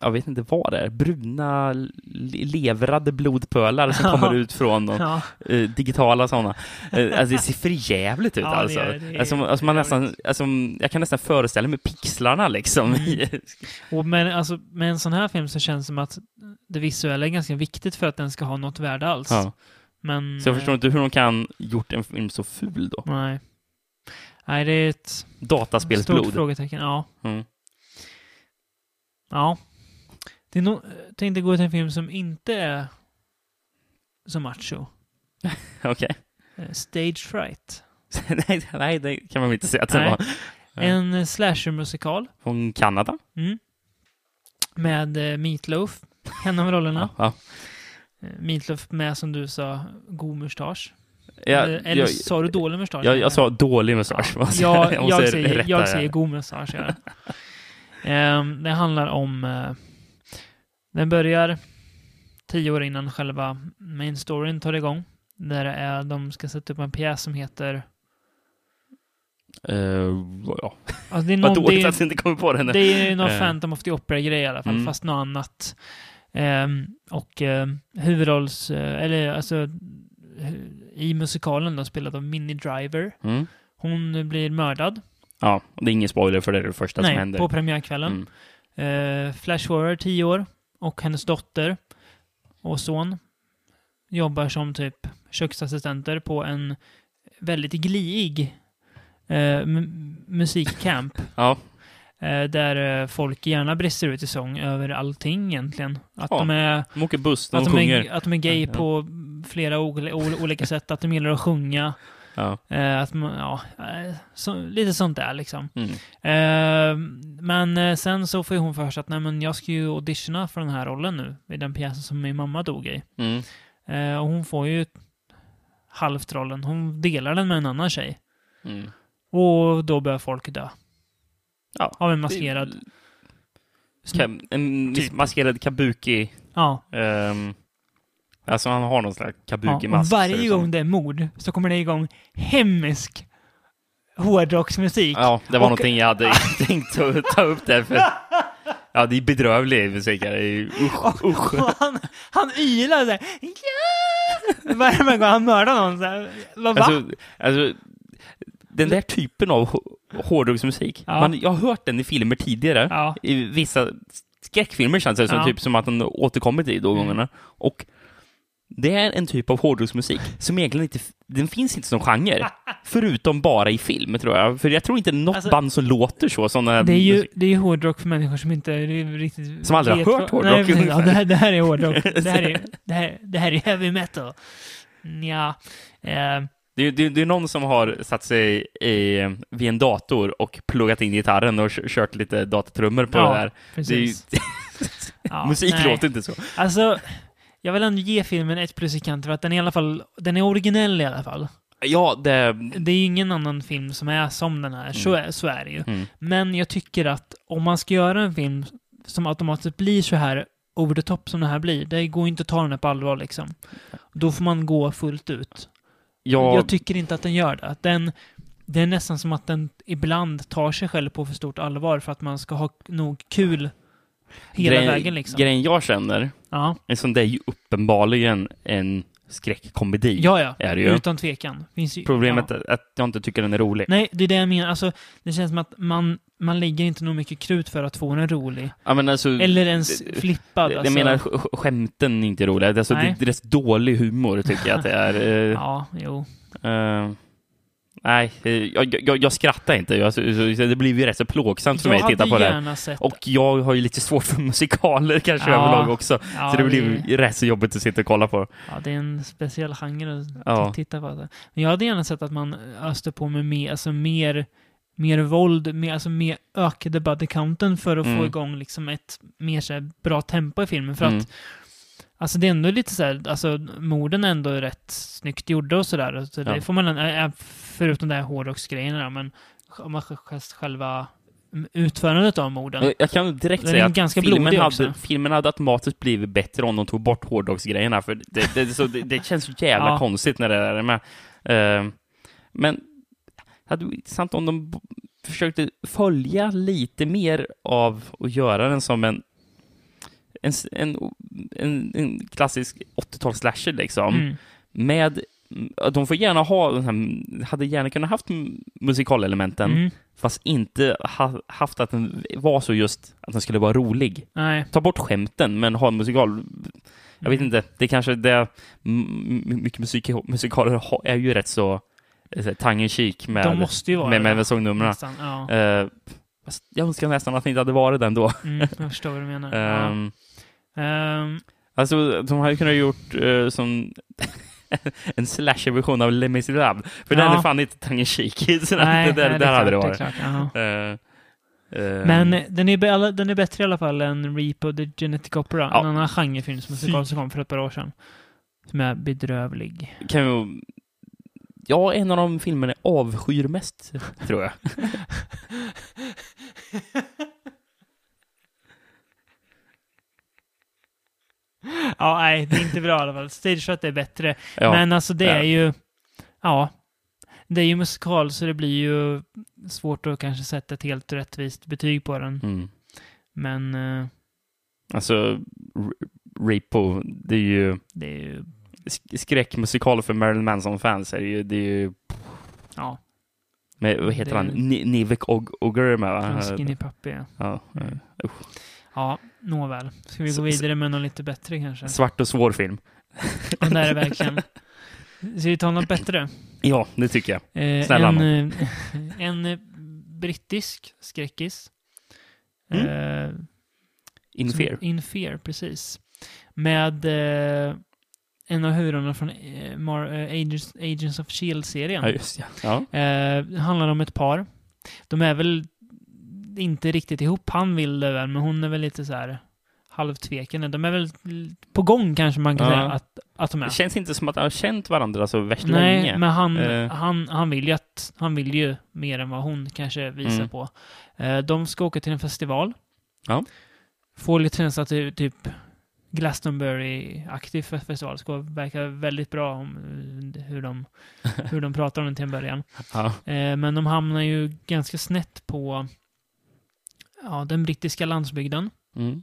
Jag vet inte vad det är. Bruna le- levrade blodpölar som kommer ut från de, Ja. eh, digitala sådana. Eh, alltså det ser förjävligt ut Ja, det alltså. gör det. Det är alltså, man- alltså, man nästan, alltså. Jag kan nästan föreställa mig pixlarna liksom. Mm. i- Och men, alltså, med en sån här film så känns det som att det visuella är ganska viktigt för att den ska ha något värde alls. ja. Men, Så jag förstår eh, inte hur de kan gjort en film så ful då. Nej. Nej, det är ett stort Dataspelsblod. frågetecken. Ja. Mm. ja. Det är nog, eh, tänkte gå till en film som inte är så macho. Okej. Eh, Stage Fright. nej, nej, det kan man väl inte säga att det Nej. var. Ja. En eh, slashermusikal Från Kanada. mm. med eh, Meatloaf, en av rollerna. ja. Eh, Meatloaf med som du sa, god mustasch. Ja, eller eller jag- sa du dålig mustasch? Jag, jag sa dålig mustasch. vad säger jag, jag jag, måste säger, rätta jag det. säger god mustasch. gör jag. Ehm, det handlar om... eh, den börjar tio år innan själva main storyn tar igång. Där det är, de ska sätta upp en pjäs som heter... Eh, ja. Alltså det är någon, Vad dåligt det är, att du inte kommer på den. Det är ju någon Eh. Phantom of the Opera-grej i alla fall, Mm. fast något annat. Ehm, och eh, huvudrolls... eh, eller alltså... hu- I musikalen då, spelad av Minnie Driver. Mm. Hon blir mördad. Ja, det är ingen spoiler för det är det första som Nej, händer. på premiärkvällen. Mm. Eh, flash forward 10 år och hennes dotter och son jobbar som typ köksassistenter på en väldigt gliig eh, m- musikcamp Ja, eh, där eh, folk gärna brister ut i sång över allting egentligen. Att Ja, de är de åker buss, de att de sjunger. är, att de är gay Ja, ja. på flera ol- ol- olika sätt, att de gillar att sjunga, Ja. eh, att man, ja, eh, så, lite sånt där liksom. Mm. Eh, men eh, sen så får ju hon för sig att nej, men jag ska ju auditiona för den här rollen nu, i den pjäsen som min mamma dog i. Mm. Eh, och hon får ju halvt rollen. Hon delar den med en annan tjej. Mm. Och då börjar folk dö. Ja. Av en maskerad... Ka- en Typ. maskerad kabuki. Ja. ehm, alltså han har någon slags ja. Och kabuki-mask. ser varje det ut som. gång det är mord så kommer det igång hemsk hårdrocksmusik. Ja, det var Och- någonting jag hade tänkt att ta upp där. För Ja, det är bedrövlig musik. här. Det är ju- Usch, usch. Och han, han ylar såhär. Ja! Varje gång han mördar någon såhär. Vad va? Alltså, alltså, den där typen av hå- hårdrocksmusik. Ja. Man, jag har hört den i filmer tidigare. Ja. I vissa skräckfilmer känns det som, Ja. Mm. typ, som att den återkommer till de gångerna. Och det är en typ av hårdrocksmusik som egentligen inte, den finns inte som genre. förutom bara i film, tror jag. För jag tror inte något Alltså- band som låter så. Som, det är ju det är ju hårdrock för människor som inte riktigt... Ehm, Som aldrig har vet hört vad- hårdrock, Nej, ja, ungefär. det, här, det här är hårdrock. Det här är, det här, det här är heavy metal. Nja. Eh, Det, är- det, är- det är någon som har satt sig i, vid en dator och pluggat in gitarren och kö- kört lite datatrummor på Ja, det där. Det är ju, precis. Ja, musik nej. låter inte så. Alltså, jag vill ändå ge filmen ett plus i kant för att den är i alla fall, den är originell i alla fall. Ja, det... Det är ju ingen annan film som är som den här, så, är, så är det ju. Mm. Men jag tycker att om man ska göra en film som automatiskt blir så här over the top som den här blir, det går ju inte att ta den här på allvar liksom. Då får man gå fullt ut. Jag, Jag tycker inte att den gör det. Att Den, det är nästan som att den ibland tar sig själv på för stort allvar för att man ska ha nog kul hela grejen- vägen liksom. Grejen jag känner, ja. en sån där är ju uppenbarligen en skräckkomedi. Ja, ja. är det ju. Utan tvekan. Finns ju, Problemet ja. är att jag inte tycker den är rolig. Nej, det är det jag menar. Alltså, det känns som att man, man lägger inte nog mycket krut för att få den rolig. Ja, men alltså, Eller ens det- flippad. jag alltså. menar, sk- sk- skämten är inte roliga. Alltså, Nej. det, det är rätt dålig humor, tycker jag att det är. Eh, Ja, jo. eh, nej, eh, jag, jag, jag skrattar inte. Jag, så, så, så det blir ju rätt så plågsamt för mig att titta på Jag det. hade här. gärna sett... Och jag har ju lite svårt för musikaler kanske Ja. överlag också. ja, så det blir det, ju rätt så jobbigt att sitta och kolla på. ja, det är en speciell genre att Ja. t- titta på. Alltså. Men jag hade gärna sett att man öste på med mer, alltså mer, mer våld, mer, alltså mer ökade body counten för att få Mm. igång liksom ett mer så här, bra tempo i filmen. För att Mm. Alltså det är ändå lite så här, alltså morden är ändå rätt snyggt gjorda och sådär. Så det Ja. får man, ä- ä- förutom det här hårdrocksgrejerna då, men sj- om man sj- sj- själva mm, utförandet av morden. Jag- Jag kan direkt Den är säga att ganska blodig filmen, också. hade, filmen hade automatiskt blivit bättre om de tog bort hårdrocksgrejerna. För det, det, så det, det känns så jävla Ja. konstigt när det är med. Eh, men det hade varit intressant om de b- försökte följa lite mer av och göra den som en en, s- en, en, en klassisk 80-tals-slasher liksom. Mm. Med, mm, de får gärna ha, den här, hade gärna kunnat haft musikalelementen. Mm. Fast inte ha, haft att den var så just att den skulle vara rolig. Nej. Ta bort skämten, men ha en musikal. Jag vet Mm. inte, det kanske är det... m- m- Mycket musik, musikaler ha- är ju rätt så eh, tongue kik med, De måste ju vara med, det. Mm. med, med sångnumren. Nästan, ja. Eh, fast jag önskar nästan att det inte hade varit den då. Mm, jag förstår vad du menar. Ja. Ehm, Ehm, Alltså, de hade kunnat gjort eh, som en slasher-version av Les Misérables. För den Ja. är fan inte tongue kik. Så nej, det där, nej, där hade det klart, varit. Ehm. är klart, ja. Eh, ehm, Men den är, be- den är bättre i alla fall än Repo the Genetic Opera, Ja. en annan genrefilm som Fy. musikal som kom för ett par år sedan. Som är bedrövlig. kan ju... Ja, en av de filmerna jag avskyr mest, tror jag. Ja, nej, det är inte bra i alla fall. Stageat är bättre. Ja, Men alltså det är Ja. ju, ja, det är ju musikal så det blir ju svårt att kanske sätta ett helt rättvist betyg på den. mm. Men eh, Alltså, R- Repo, det är ju det är ju, sk- skräckmusikal för Marilyn Manson-fans. är Det, ju- det är ju, ja, med, vad heter Det- han? Ni- Nivek Og- Ogre med, va? från Skinny Puppy. ja. Ja, eh, Ja, nåväl. Ska vi Så- gå vidare med något lite bättre kanske? Svart och svår film. Den där är verkligen... Ska vi ta något bättre? Ja, det tycker jag. Eh, Snälla en, någon. eh, en eh, brittisk skräckis. Mm. Eh, In som- Fear. In Fear, precis. Med eh, en av huvudrollerna från eh, Mar- eh, Agents, Agents of Shield-serien. Ja, just ja. ja. Eh, det handlar om ett par. De är väl inte riktigt ihop. Han vill det väl, men hon är väl lite så här halvtvekande. De är väl l- på gång kanske man kan Ja. säga att, att de är. Det känns inte som att de har känt varandra så värst Nej, länge. men han, Eh. han, han, vill ju att, han vill ju mer än vad hon kanske visar Mm. på. Eh, de ska åka till en festival. Ja. Får lite känsla att det är typ Glastonbury-aktiv fe- festival. Ska verka väldigt bra om eh, hur de, hur de pratar om den till en början. Ja. Eh, men de hamnar ju ganska snett på ja, den brittiska landsbygden. Mm.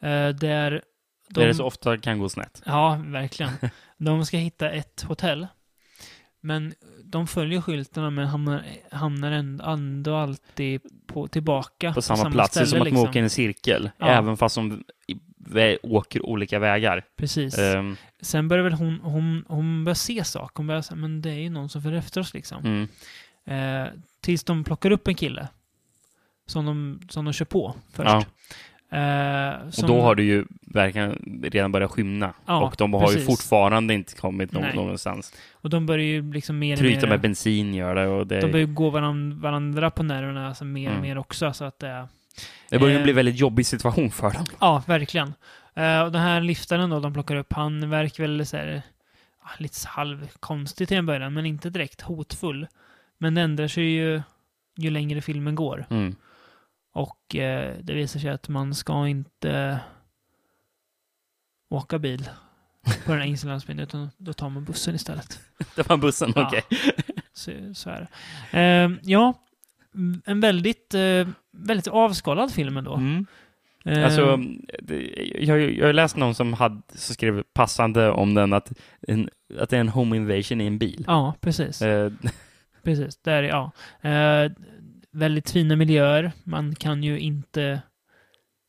Eh, där de, Där det så ofta kan gå snett. Ja, verkligen. De ska hitta ett hotell. Men de följer skyltarna men hamnar, hamnar änd- ändå alltid på, tillbaka På samma, plats. det är som att man liksom. åker i en cirkel. Ja. Även fast de i- vä- åker olika vägar. Precis. Ehm, Sen börjar väl hon, hon, hon börjar se saker. Hon börjar säga, men det är ju någon som följer efter oss liksom. mm. Eh, tills de plockar upp en kille. Som de, som de kör på först. Ja. Eh, som, Och då har du ju verkligen redan börjat skymna. Ja, och de har ju precis. fortfarande inte kommit nå- Nej. någonstans. och de börjar ju liksom mer och Tryta mer- med bensin gör det. Och det, De börjar ju gå varann, varandra på nerverna alltså, mer och Mm. mer också. Så att, eh, det börjar ju eh, bli en väldigt jobbig situation för dem. ja, verkligen. Eh, och den här liftaren då de plockar upp, han verkar väl så här, ja, lite halvkonstig till en början, men inte direkt hotfull. Men det ändrar sig ju ju längre filmen går. Mm. Och eh, det visar sig att man ska inte åka bil på den här insulandsbyn, utan då tar man bussen istället. Det var bussen, Ja. okej. Så, så är det. Eh, ja, m- en väldigt, eh, väldigt avskalad film ändå. Mm. Eh, Alltså, det- jag, jag har läst någon som, hade, som skrev passande om den att, en, att det är en home invasion i en bil. ja, precis. Eh, precis. Där, är- ja. Eh, väldigt fina miljöer. Man kan ju inte,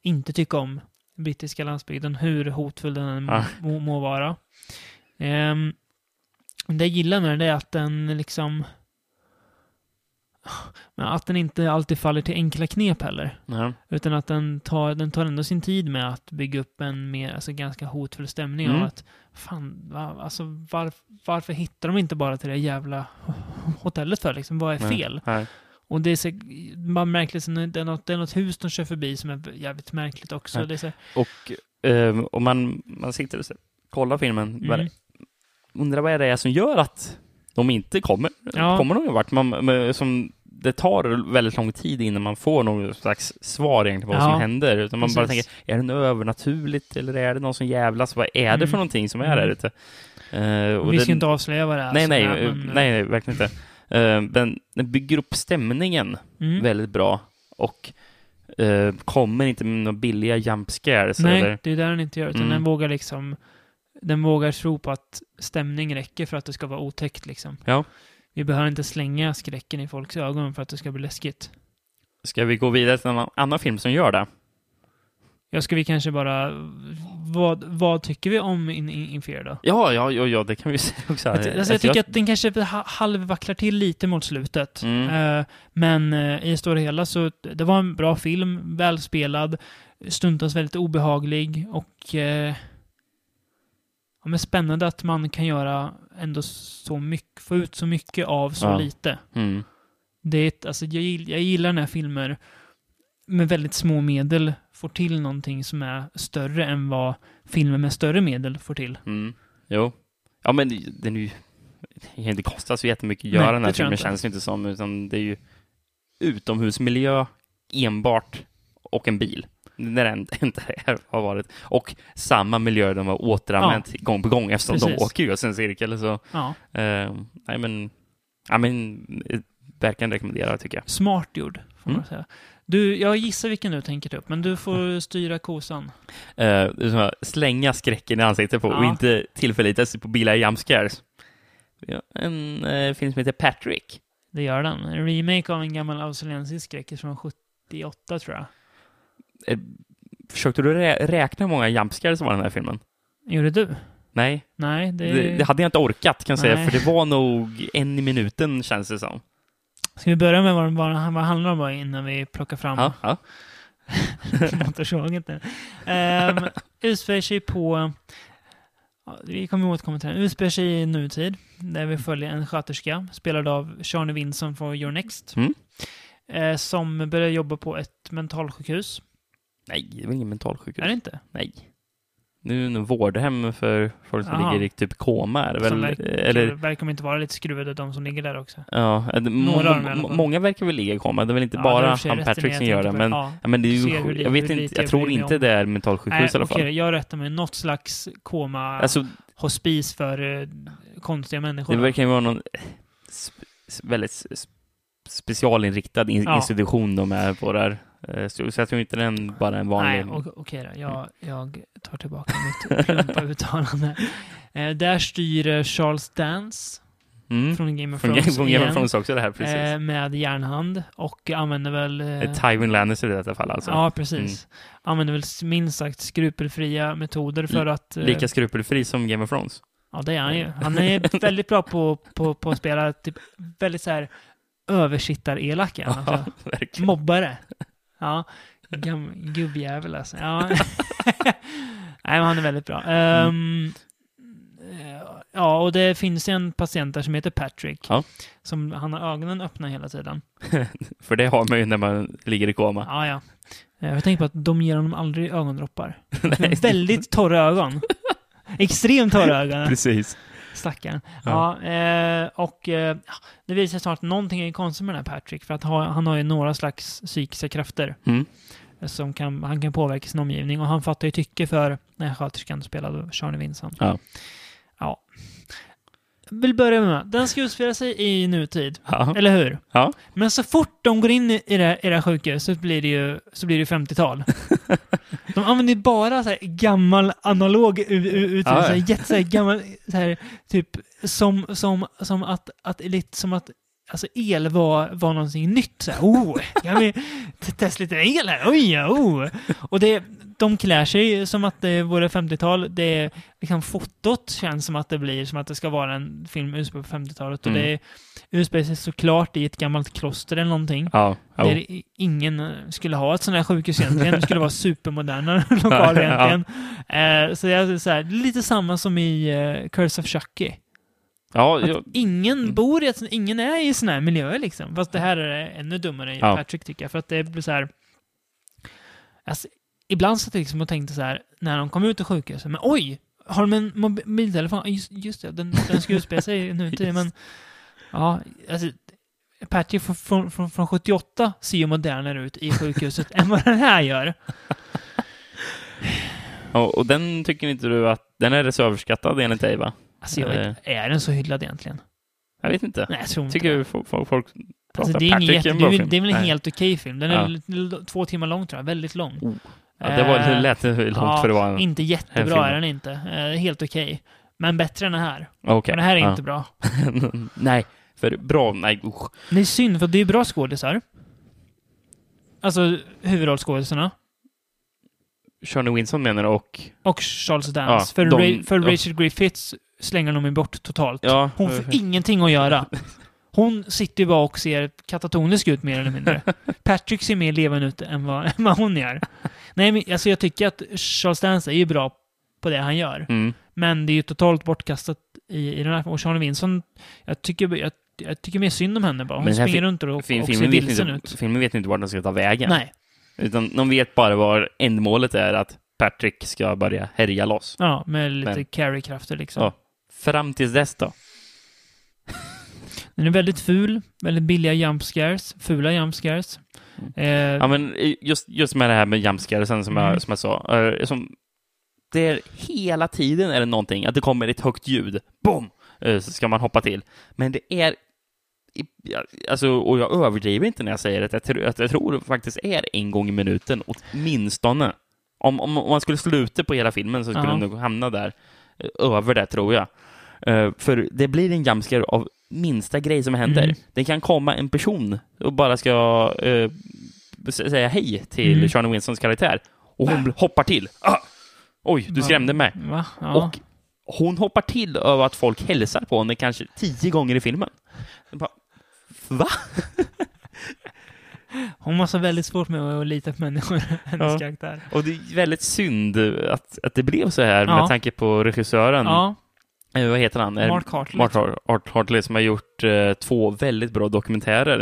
inte tycka om brittiska landsbygden, hur hotfull den än Ja. må, må vara. Ehm, det jag gillar med den är att den liksom... Men att den inte alltid faller till enkla knep heller. ja. Utan att den tar, den tar ändå sin tid med att bygga upp en mer, alltså ganska hotfull stämning Mm. av att fan, va, alltså var, varför hittar de inte bara till det jävla hotellet för liksom? Vad är Nej. fel? Nej. Och det är så, man märker liksom, det är, något, det är något hus de kör förbi som är jävligt märkligt också. Ja. Det är så, Och eh, om man, man sitter och så- kollar filmen, vad mm, det- undrar vad det är som gör att de inte kommer. Ja. Kommer de någon vart? Man, men som, det tar väldigt lång tid innan man får någon slags svar egentligen på vad Ja. som händer. Utan man bara Precis. tänker, är det något övernaturligt eller är det någon som jävlas? Vad är det Mm. för någonting som är där Mm. ute? Eh, och vi ska den- inte avslöja vad det är. Nej, så nej, där, eh, men- nej, nej, verkligen inte. Eh, Den, den bygger upp stämningen Mm. väldigt bra och eh, kommer inte med några billiga jump scares. Nej, Eller, det är där den inte gör. Utan Mm. den vågar liksom... Den vågar tro på att stämning räcker för att det ska vara otäckt liksom. Ja. Vi behöver inte slänga skräcken i folks ögon för att det ska bli läskigt. ska vi gå vidare till en annan- annan film som gör det? Jag ska vi kanske bara... Vad, vad tycker vi om In, in, Inferior då? Ja, ja, ja, ja, det kan vi säga också. Att, alltså, jag tycker att den kanske ha- halvvacklar till lite mot slutet. Mm. Eh, men eh, i det stora hela så det var en bra film, välspelad, stundtals väldigt obehaglig och eh, ja, men spännande att man kan göra ändå så mycket, få ut så mycket av så Ja. lite. Mm. Det är ett, alltså, jag, gill- jag gillar när filmer med väldigt små medel får till någonting som är större än vad filmer med större medel får till. Mm. Jo. Ja, men den är ju... Det kostar så jättemycket att göra Nej, den det här tror jag filmen, inte. känns det inte som. Utan det är ju utomhusmiljö enbart och en bil. När den inte är- har varit. Och samma miljö de har återanvänt gång på gång eftersom de Precis. åker ju i en cirkel. Så, Ja. eh, nej, men... Ja, men... eh, Verkligen rekommendera, tycker jag. Smart gjord, får man Mm. säga. Du, jag gissar vilken du tänker ta upp, men du får styra kosan. Eh, det är som att slänga skräcken i ansiktet på och Ja. inte tillförlita sig på bilar i jump scares. Ja, en eh, film som heter Patrick. Det gör den. En remake av en gammal australiensisk skräck från 78, tror jag. Försökte du rä- räkna hur många jump scares som var i den här filmen? Gjorde du? Nej, Nej, det... det, det hade jag inte orkat kan jag säga, Nej. för det var nog en i minuten känns det som. Ska vi börja med vad, den- vad, den- vad det handlar om bara innan vi plockar fram Ja, ja. motorsågen? Um, utspelar sig på... ja, Vi kommer återkomma till den. Utspelar sig i nutid, där vi följer en sköterska, spelad av Charlie Vinson från Your Next, Mm. eh, som börjar jobba på ett mentalsjukhus. Nej, det var ingen mentalsjukhus. Är det inte? Nej. Nu är det nog vårdhem för folk som Jaha. ligger i typ koma, är det Som väl? verkar, Eller, verkar de inte vara lite skruvade, de som ligger där också. ja, det- må, Några av dem i alla må, fall. många verkar väl ligga i koma, det är väl inte Ja, det är i bara och för sig han rätt i Patrick jag som gör det, tänker på men Ja. Ja, men det är Ser ju, hur li- jag vet hur inte, lite jag tror jag bryr mig inte om. det är mentalsjukhus Nej, i alla fall. okej, jag rättar mig. Något slags koma Alltså, hospis för eh, konstiga människor. det verkar ju vara någon eh, sp- s- väldigt s- s- specialinriktad in- Ja. institution de är på där. Eh, Så så jag tror inte den bara är en vanlig... Nej, o- okej då. Jag, jag tar tillbaka mitt plumpa uttalande. Eh, där styr eh, Charles Dance Mm. från Game of Från Game Thrones från Game of igen, Thrones också det här, precis. eh, med järnhand och använder väl... eh, Eh, Tywin Lannister i detta fall alltså. Ja, precis. Använder väl s- minst sagt skrupelfria metoder för att... eh, Lika skrupelfri som Game of Thrones. Ja, det är han ju. Han är väldigt bra på, på, på att spela typ, väldigt så här översittarelak är han, alltså. Verkligen. Mobbare. Ja. Gam, gubbjävel alltså. Ja. Nej, men han är väldigt bra. Ehm, eh, ja, och det finns ju en patient där som heter Patrick. Ja. Som, han har ögonen öppna hela tiden. För det har man ju när man ligger i koma. Ja, ja. Eh, Jag tänker på att de ger honom aldrig ögondroppar. väldigt torra ögon. Extremt torra ögon. Precis. Stackarn. Ja. eh, och eh, ja, det visar sig snart att någonting är konstigt med den här Patrick, för att ha, han har ju några slags psykiska krafter Mm. eh, som kan, han kan påverka sin omgivning och han fattar ju tycke för den här sköterskan spelad av Charlie Vincent. Ja. Ja. Vill börja med, den ska utspela sig i nutid, Ja. eller hur? Ja. Men så fort de går in i i det här, i det här sjukhuset så blir det ju så blir det 50-tal. De använder ju bara så här gammal analog u- u- utrustning, Ja, ja. så här jätte så här gammal, så här, typ som, som, som att, att, lite som att Alltså el var, var någonting nytt. Så här, oh, kan vi t- testa lite el här? Oj, ja, oh. Och det, de klär sig som att det vore 50-tal. Det är, liksom, fotot känns som att det blir som att det ska vara en film utspelad på 50-talet. Och Mm. det är utspelar sig såklart i ett gammalt kloster eller någonting. Ja. Ja. Där i- ingen eh, skulle ha ett sånt här sjukhus egentligen. Det skulle vara supermoderna lokaler Ja. egentligen. Eh, så det är så här, lite samma som i eh, Curse of Chucky. ja. Att ja. ingen Mm. bor i ett, sånt- ingen är i såna här miljöer liksom. Fast det här är ännu dummare i Ja. Patrick tycker jag. För att det blir så här... Alltså, ibland satt jag liksom och tänkte så här, när de kom ut ur sjukhuset, men oj! Har de en mobiltelefon? Ja, Just, just det, den, den ska utspela sig nu till, men... Ja, alltså... Patrick från, från, från, från 78 ser ju modernare ut i sjukhuset än vad den här gör. Och, och den tycker inte du att... Den är så överskattad enligt dig va? Alltså, jag vet, är den så hyllad egentgen? Jag vet inte. Nej, jag tror inte Tycker du folk, folk, folk pratar Alltså, det, är ingen Patrick jätte, i en det, bra är, väl- film? det är väl en Nej. helt okej film. Den är Ja. väl l- två timmar lång tror jag, väldigt lång. Oh. Ja, det var det Eh, lät långt för att vara en... Inte en jättebra film. är den inte. Eh, helt okej. Men bättre än den här. Okej. Men det här är Ja. inte bra. nej, för bra... Nej, usch. Det är synd, för det är bra skådisar. Alltså huvudrollsskådisarna. Shirley Winson menar du och... Och Charles Dance. för de- Ra- för ja. Rachel Griffiths slänger de ju bort totalt. Ja, Hon får ingenting att göra. Hon sitter ju bara och ser katatonisk ut mer eller mindre. Patrick ser mer levande ut än vad, än vad hon gör. Nej, men alltså jag tycker att Charles Dance är ju bra på det han gör. mm. Men det är ju totalt bortkastat i, i den här. Och Charlie Vinson, jag tycker, jag, jag tycker mer synd om henne bara. Hon Men den här springer fi- runt och, och Film, ser filmen, vet vilsen inte, ut. filmen vet inte vart den ska ta vägen. Nej. Utan de vet bara var ändmålet är att Patrick ska börja härja loss. Ja, med lite Men- carry-krafter liksom. Ja. Fram tills dess då? Den är väldigt ful, väldigt billiga jump scares, fula jump scares. Eh, Mm. Ja, men just, just med det här med jumpscaresen som, Mm. jag, som jag sa. eh, Som, det är hela tiden är det någonting, att det kommer ett högt ljud. Boom! Eh, Så ska man hoppa till. Men det är... i- ja, Alltså, och jag överdriver inte när jag säger att jag, tror- att jag tror det faktiskt är en gång i minuten, åtminstone. Om, om, om man skulle sluta på hela filmen så skulle Ja. den nog hamna där. eh, Över det, tror jag. Eh, För det blir en jumpscare av minsta grej som händer. Mm. Det kan komma en person och bara ska eh, s- säga hej till Mm. Charlie Winsons karaktär. Och hon hoppar till. Ah! Oj, du skrämde mig. Va? Ja. Och hon hoppar till över att folk hälsar på henne kanske tio gånger i filmen. Jag Bara, Va? Hon måste ha väldigt svårt med att lita på människor, hennes Ja. karaktär. Och det är väldigt synd att, att det blev så här Ja. med tanke på regissören. Ja, Eh, vad heter han? Eh, Mark Hartley. Mark Har- Hart- Hartley som har gjort eh, två väldigt bra dokumentärer.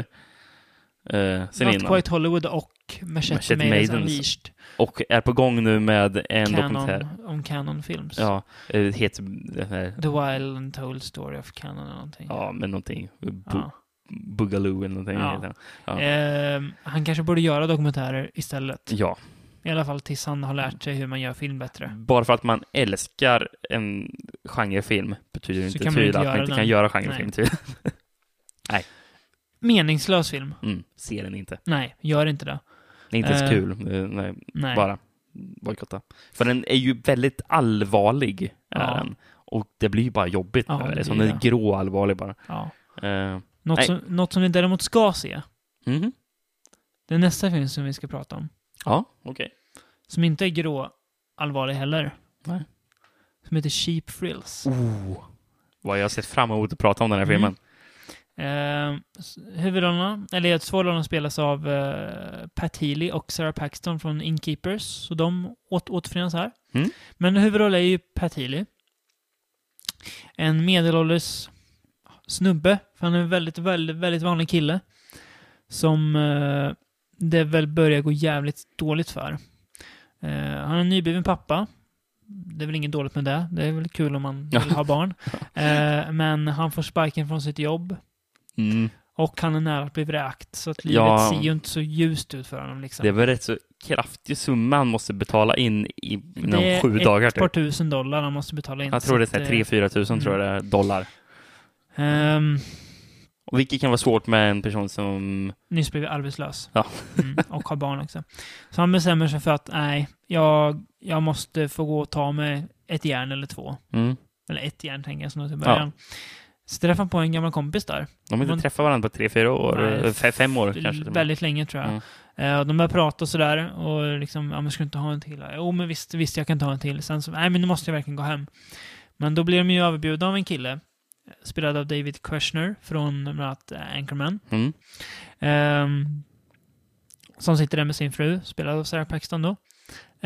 Eh, sen Not innan. Quite Hollywood och Machete, Machete Maidens Maidens Unleashed. Och är på gång nu med en dokumentär. Canon, om Canon Films. Ja, eh, det heter... den här- The Wild and Told Story of Canon eller någonting. Ja, men någonting. Bu- Ja. Boogaloo eller någonting. liksom. Ja. heter den. Ja. Ehm, han kanske borde göra dokumentärer istället. ja. I alla fall tills han har lärt sig hur man gör film bättre. Bara för att man älskar en genrefilm betyder Så inte kan man tydligt inte att man göra inte den. kan göra genrefilm. typ. Till. Meningslös film? Mm. Ser den inte. Nej, gör inte det. Det är inte ens Eh, kul. Eh, Nej, Nej. bara bojkotta. För den är ju väldigt allvarlig. Är Ja. den. Och det blir ju bara jobbigt. Ja, när det det är blir som den är det. grå allvarlig bara. Ja. Eh, Något, Nej. som, något som vi däremot ska se, mhm. det är nästa film som vi ska prata om. Ja, okej. Som inte är grå allvarlig heller. Nej. Som heter Cheap Frills. Oh, vad jag har sett fram emot att prata om den här Mm. filmen. Eh, s- huvudrollerna, eller två rollerna spelas av eh, Pat Healy och Sarah Paxton från Inkeepers, så de åt, återförenas här. Mm. Men huvudrollen är ju Pat Healy. En medelålders snubbe, för han är en väldigt, väldigt, väldigt vanlig kille. Som eh, det väl börjar gå jävligt dåligt för. Eh, han är en nybliven pappa. Det är väl inget dåligt med det. Det är väl kul om man vill ha barn. Eh, men han får sparken från sitt jobb. Mm. Och han är nära att bli vräkt, så att livet Ja. ser ju inte så ljust ut för honom. Liksom. Det är väl rätt så kraftig summa han måste betala in i, inom Det är sju dagar. ett par Typ. tusen dollar han måste betala in. Jag tror det är så att, Mm. såhär 3-4 tusen tror jag det är, dollar. eh, ehm, Och vilket kan vara svårt med en person som... nyss blivit arbetslös. Ja. Mm, och har barn också. Så han bestämmer sig för att nej, jag, jag måste få gå och ta mig ett järn eller två. Mm. Eller ett järn tänker jag som till början. Så träffar han på en gammal kompis där. De har inte Man- träffat varandra på 3-4 år. Nej, eh, fe- fem år L- kanske. till och med. Väldigt länge tror jag. Mm. Eh, och de börjar prata och sådär och liksom, ja men ska du inte ha en till? Jo men visst, visst jag kan ta en till. Sen så, nej men nu måste jag verkligen gå hem. Men då blir de ju överbjudna av en kille. eh, Spelad av David Kushner från bland annat eh, Anchorman. Mm. Ehm, som sitter där med sin fru, spelad av Sarah Paxton då.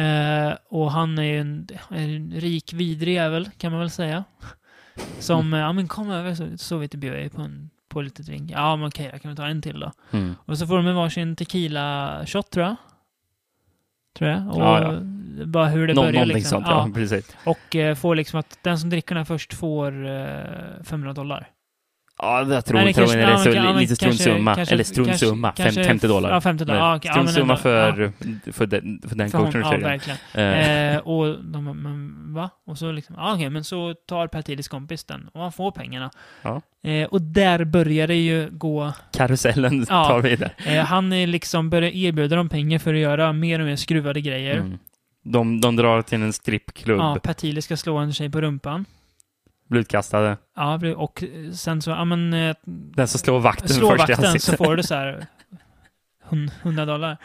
Eh, och han är ju en, en rik, vidrig jävel, kan man väl säga. Som, Mm. eh, ja men kom över så, så vi till bjuder på, en, på lite drink. Ja men okej, jag kan väl ta en till då. Mm. Och så får de en varsin tequila shot tror jag. Tror jag. Och Ja, bara hur det Nå- börjar någonting liksom. sånt, ja. ja. Precis. Och eh, får liksom att den som dricker den här först får eh, 500 dollar. Ja, jag tror, Nej, det tror kanske- det är ja, så, men- ja, men lite strunt kanske- summa. kanske- Eller strunt kanske- summa. Fem- kanske- 50 dollar. Ja, 50 dollar. Men Ja, okej, ja, Strunt men summa ändå. för, för den, för den För hon, coachen. ja, tror jag. verkligen. Eh, Eh, och de bara, men va? Och så liksom, ah, okej, men så tar Patilis kompis den och han får pengarna. Ja. Eh, och där börjar det ju gå. Karusellen ja. tar vi där. Eh, han är liksom börjar erbjuda dem pengar för att göra mer och mer skruvade grejer. Mm. De, de drar till en strippklubb, Ja, Patilis ska slå en tjej på rumpan. blir utkastade. Ja, det- och eh, sen så, ja men, eh, Den som slår vakten slå först i vakten så ansiktet. får du så här hun- 100 dollar.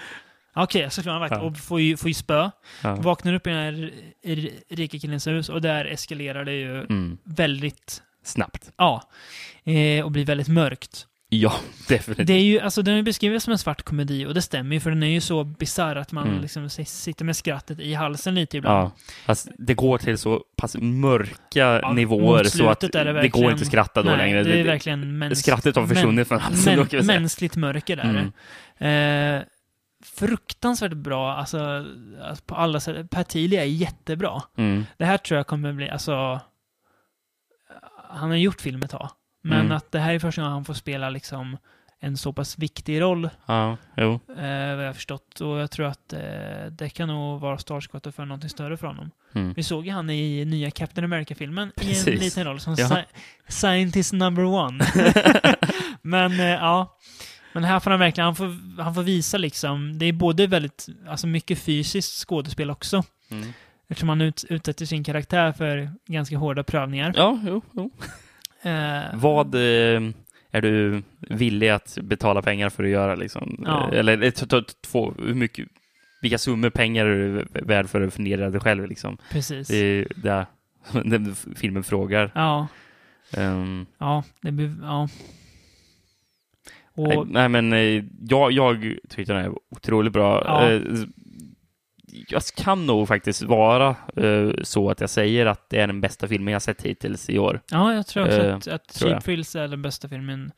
Ja, Okej, så slår han vakten Ja. och får ju, får ju spö. Ja. Vaknar upp i den här r- r- rika killens hus och där eskalerar det ju Mm. väldigt, Snabbt. ja, eh, och blir väldigt mörkt. Ja, definitivt. Det är ju, alltså den är beskriven som en svart komedi och det stämmer ju för den är ju så bisarr att man Mm. liksom s- sitter med skrattet i halsen lite ibland. Ja. Alltså, det går till så pass mörka Ja, nivåer mot så att slutet är det det går inte att skratta då Nej, längre. det är Det- verkligen det- mäns- Skrattet har försvunnit från halsen, Alltså, då men, kan vi säga. mänskligt mörker där. Mm. Eh, fruktansvärt bra, alltså, alltså på alla sätt. Patilia är jättebra. Mm. Det här tror jag kommer bli, alltså, han har gjort film ett tag. Men Mm. att det här är första gången han får spela liksom en så pass viktig roll, Ja, jo. eh, vad jag har förstått. Och jag tror att eh, det kan nog vara startskottet för någonting större för honom. Mm. Vi såg ju han i nya Captain America-filmen i en Precis. liten roll som Ja. sci- scientist number one. Men eh, ja, men här får han verkligen, han får, han får visa liksom, det är både väldigt, alltså mycket fysiskt skådespel också. Mm. Eftersom han ut, utsätter sin karaktär för ganska hårda prövningar. Ja, jo, jo. Eh, Vad eh, är du villig att betala pengar för att göra? Liksom? Ja. Eh, Eller eh, t- t- två, hur mycket, vilka summor pengar är du värd för att fundera dig själv? Liksom? Precis. Det är det den filmen frågar. Ja, Ehm, ja, det blir, ja. Och, nej, men eh, jag, jag tyckte den är otroligt bra. Ja. Eh, jag kan nog faktiskt vara eh, så att jag säger att det är den bästa filmen jag sett hittills i år. ja, jag tror också eh, att, att tror jag. Cheap Thrills är den bästa filmen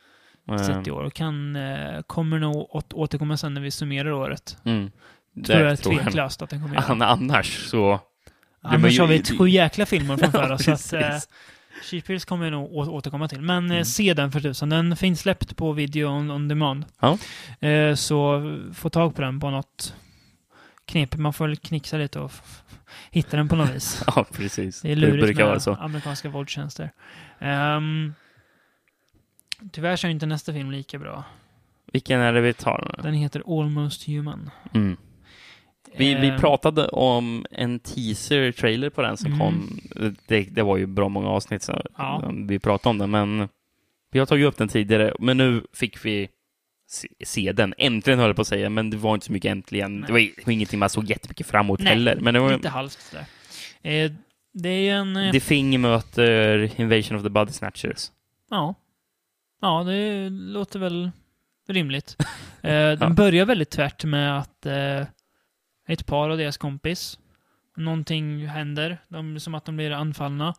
Ehm, sett i år och kan, eh, kommer nog åt, återkomma sen när vi summerar året. Mm. Det tror jag tror jag. tveklöst att den kommer göra. An- Annars så Annars ju- har vi två jäkla filmer framför Ja, oss. så att, eh, precis. Cheap Hills kommer jag nog å- återkomma till. Men eh, Mm. se den för tusan. Den finns släppt på video on, on demand. Ja. Eh, så få tag på den på något knep. Man får väl knixa lite och f- f- hitta den på något vis. Ja, precis. Det är lurigt brukar med vara så. amerikanska våldtjänster. Ehm, tyvärr så är inte nästa film lika bra. Vilken är det vi tar? nu? Den heter Almost Human. Mm. Vi, vi Eh, pratade om en teaser-trailer på den som Mm. kom. Det, det var ju bra många avsnitt så Ja. vi pratade om den, men vi har tagit upp den tidigare. Men nu fick vi se, se den. Äntligen höll jag på att säga, men det var inte så mycket äntligen. Nej. Det var ju- det var ingenting man såg jättemycket fram emot Nej, heller. Men det var Lite halvt sådär. Eh, det är ju en... eh, Defing möter Invasion of the Body Snatchers. Ja. Ja, det låter väl rimligt. Eh, den Ja. börjar väldigt tvärt med att eh, ett par av deras kompis, någonting händer, de, som att de blir anfallna.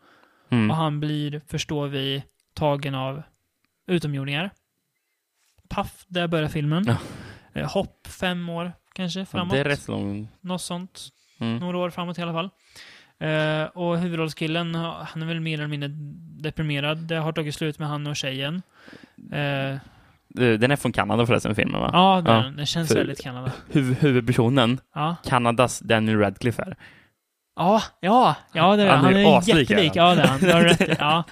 Mm. Och han blir, förstår vi, tagen av utomjordingar. Paff, där börjar filmen. Ja. Eh, hopp fem år kanske Ja, framåt. Det är rätt lång... Något sånt. Mm. Några år framåt i alla fall. Eh, och huvudrollskillen, han är väl mer eller mindre deprimerad. Det har tagit slut med han och tjejen. Eh, Den är från Kanada förresten, filmen va? ja, den, den känns För- väldigt Kanada. Huv- huvudpersonen, Ja, Kanadas Daniel Radcliffe är. ja, ja, ja det är, han. Han är Han ju är aslik, jättelik. är han. Ja, det är han. Du har rätt i. Ja.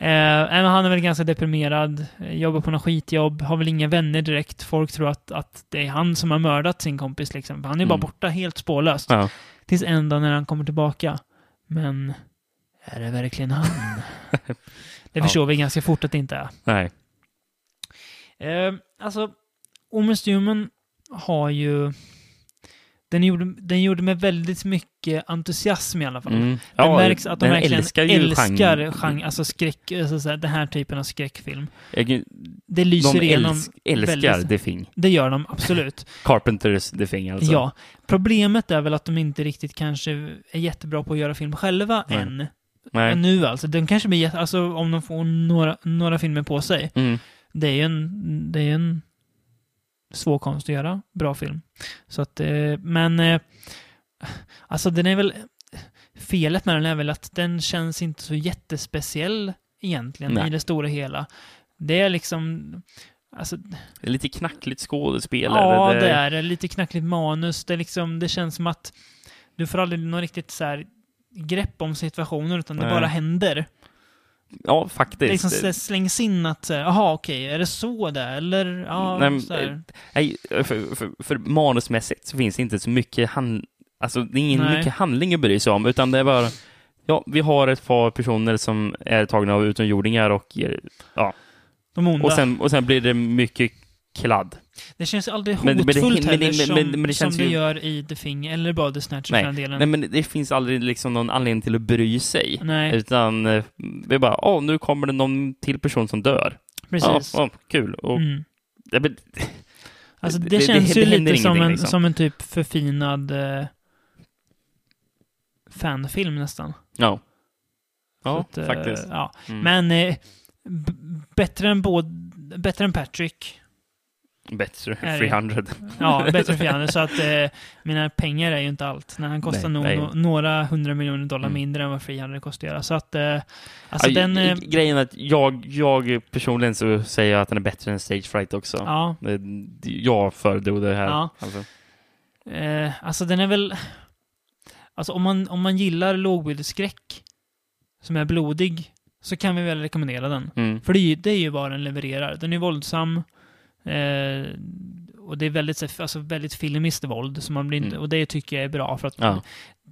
Eh, nej, men han är väl ganska deprimerad, eh, jobbar på något skitjobb, har väl inga vänner direkt. Folk tror att, att det är han som har mördat sin kompis liksom. För Han är ju bara Mm. borta helt spårlöst. Ja. Tills en dag när han kommer tillbaka. Men är det verkligen han? det Ja. förstår vi ganska fort att det inte är. Nej. Eh, alltså, Almost Human har ju... Den gjorde, den gjorde med väldigt mycket entusiasm i alla fall. Mm. Det märks att de den verkligen älskar, ju älskar genren. genre, alltså skräck, alltså så här, den här typen av skräckfilm. Jag- Det lyser De igenom. älsk, älskar väldigt- The Thing. Det gör de absolut. Carpenters The Thing alltså. Ja. Problemet är väl att de inte riktigt kanske är jättebra på att göra film själva Nej. än. Nej. Nu alltså. De kanske blir jätte- alltså om de får några, några filmer på sig. Mm. Det är ju en, det är en svår konst att göra bra film. Så att, eh, men eh, alltså den är väl, felet med den är väl att den känns inte så jättespeciell egentligen Nej. i det stora hela. Det är liksom, alltså, Det är Lite knackligt skådespel. ja är det är det. lite knackligt manus, det är liksom, det känns som att du får aldrig något riktigt så här grepp om situationen utan det Nej. bara händer. Ja, Det faktiskt. liksom så här slängs in att så här, jaha okej, är det så det är? eller ja, Nej, men, så här. Nej, för, för, för manusmässigt så finns det inte så mycket, hand, alltså, det är ingen Nej. mycket handling att bry sig om, utan det är bara Ja, vi har ett par personer som är tagna av utomjordingar och, ger- De onda. och, sen, och sen blir det mycket kladd. det känns ju aldrig Men- men det- hotfullt men heller det- men- som, men- men det känns som ju- det gör i The Thing eller Body Snatch för den delen. Nej, men det finns aldrig liksom någon anledning till att bry sig. Nej, Utan eh, det är bara, åh, nu kommer det någon till person som dör. Ja, precis. åh, kul. Och, Mm. ja, men, Alltså det, det- det- känns det ju händer lite som ingenting, en, liksom. som en typ förfinad eh, fanfilm nästan. ja. Så Ja, att, eh, faktiskt. Ja. Mm. Men eh, b- bättre, än både, bättre än Patrick. Bättre, är det. alltså 300. Ja, bättre än Fianne. så att eh, mina pengar är ju inte allt. Nej, han kostar Nej, nog nej. no- några hundra miljoner dollar Mm. mindre än vad Frihandel kostar att göra. Så att, eh, alltså Ja, den... g- Eh, Grejen är att jag, jag personligen så säger jag att den är bättre än Stage Fright också. ja. Det- det- Jag föredrog det här. Ja. Alltså. Eh, alltså den är väl... Alltså om man, om man gillar lågbudgetskräck som är blodig så kan vi väl rekommendera den. Mm. För det är ju, det är ju vad den levererar. Den är våldsam eh, och det är väldigt, så här, alltså, väldigt filmiskt våld. Så man blir inte, Mm. Och det tycker jag är bra för att Ja.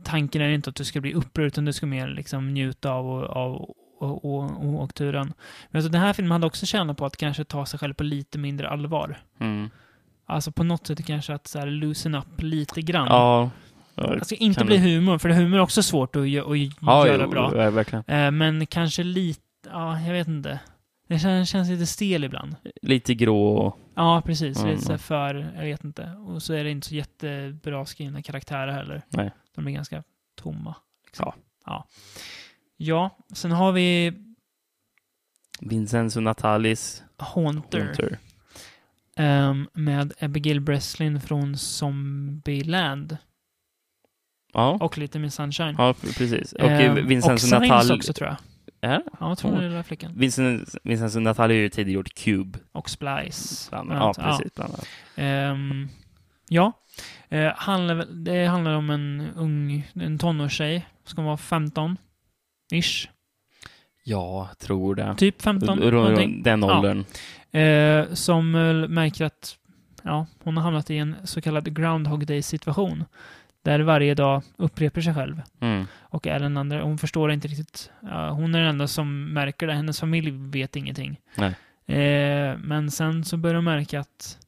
tanken är inte att du ska bli upprörd utan du ska mer liksom njuta av, och- av och, och, och, och turen. Men alltså, den här filmen hade också tjänat på att kanske ta sig själv på lite mindre allvar. Mm. Alltså på något sätt kanske att så här, loosen up lite grann. ja. Ja, Alltså inte Kan- bli humor, för humor är också svårt att, gö- att ja, göra jo, bra. ja, verkligen. Eh, Men kanske lite, ja, jag vet inte. Det känns, känns lite stel ibland. Lite grå och... Ja, precis. Mm. Lite så här för, jag vet inte. Och så är det inte så jättebra skrivna karaktärer heller. Nej. De är ganska tomma. liksom. Ja. ja. Ja, sen har vi Vincenzo Natalis Haunter. Hunter. ehm, med Abigail Breslin från Zombieland. Ja. Och lite med Sunshine. ja, precis. Och Ehm, Vincenzo och Sainz Natali... också tror jag. Är Ja, jag tror Hon- det är den där flickan. Vincent, Vincent Natali har ju tidigare gjort Cube. Och Splice. Bland bland annat. annat. Ja, precis. Bland annat. Ehm, ja. Eh, handlar, väl- det handlar om en ung, en tonårstjej. Ska vara 15. Ish. Jag tror det. Typ 15. Runt- Typ någonting. Runt den Ja. åldern. Eh, Samuel märker att ja, hon har hamnat i en så kallad Groundhog Day-situation. Där varje dag upprepar sig själv. Mm. Och är den andra, hon förstår inte riktigt. Ja, hon är den enda som märker det. Hennes familj vet ingenting. Nej. Eh, men sen så börjar hon märka att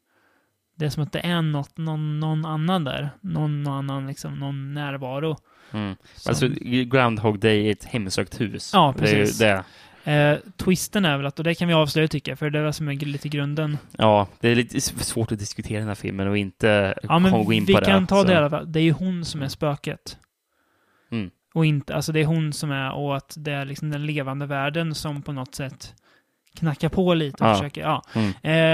det är som att det är något, någon, någon annan där. Någon annan, liksom, någon närvaro. Mm. som- Alltså, Groundhog Day är ett hemsökt hus. Ja, Det är ju precis. det. Eh, twisten är väl att, och det kan vi avslöja tycker jag, för det var som är lite grunden. Ja, det är lite svårt att diskutera den här filmen och inte Ja, men gå in vi på det. kan ta så. det i alla fall. Det är ju hon som är spöket. Mm. Och inte, alltså det är hon som är, och att det är liksom den levande världen som på något sätt knackar på lite och Ja. försöker, ja. Mm.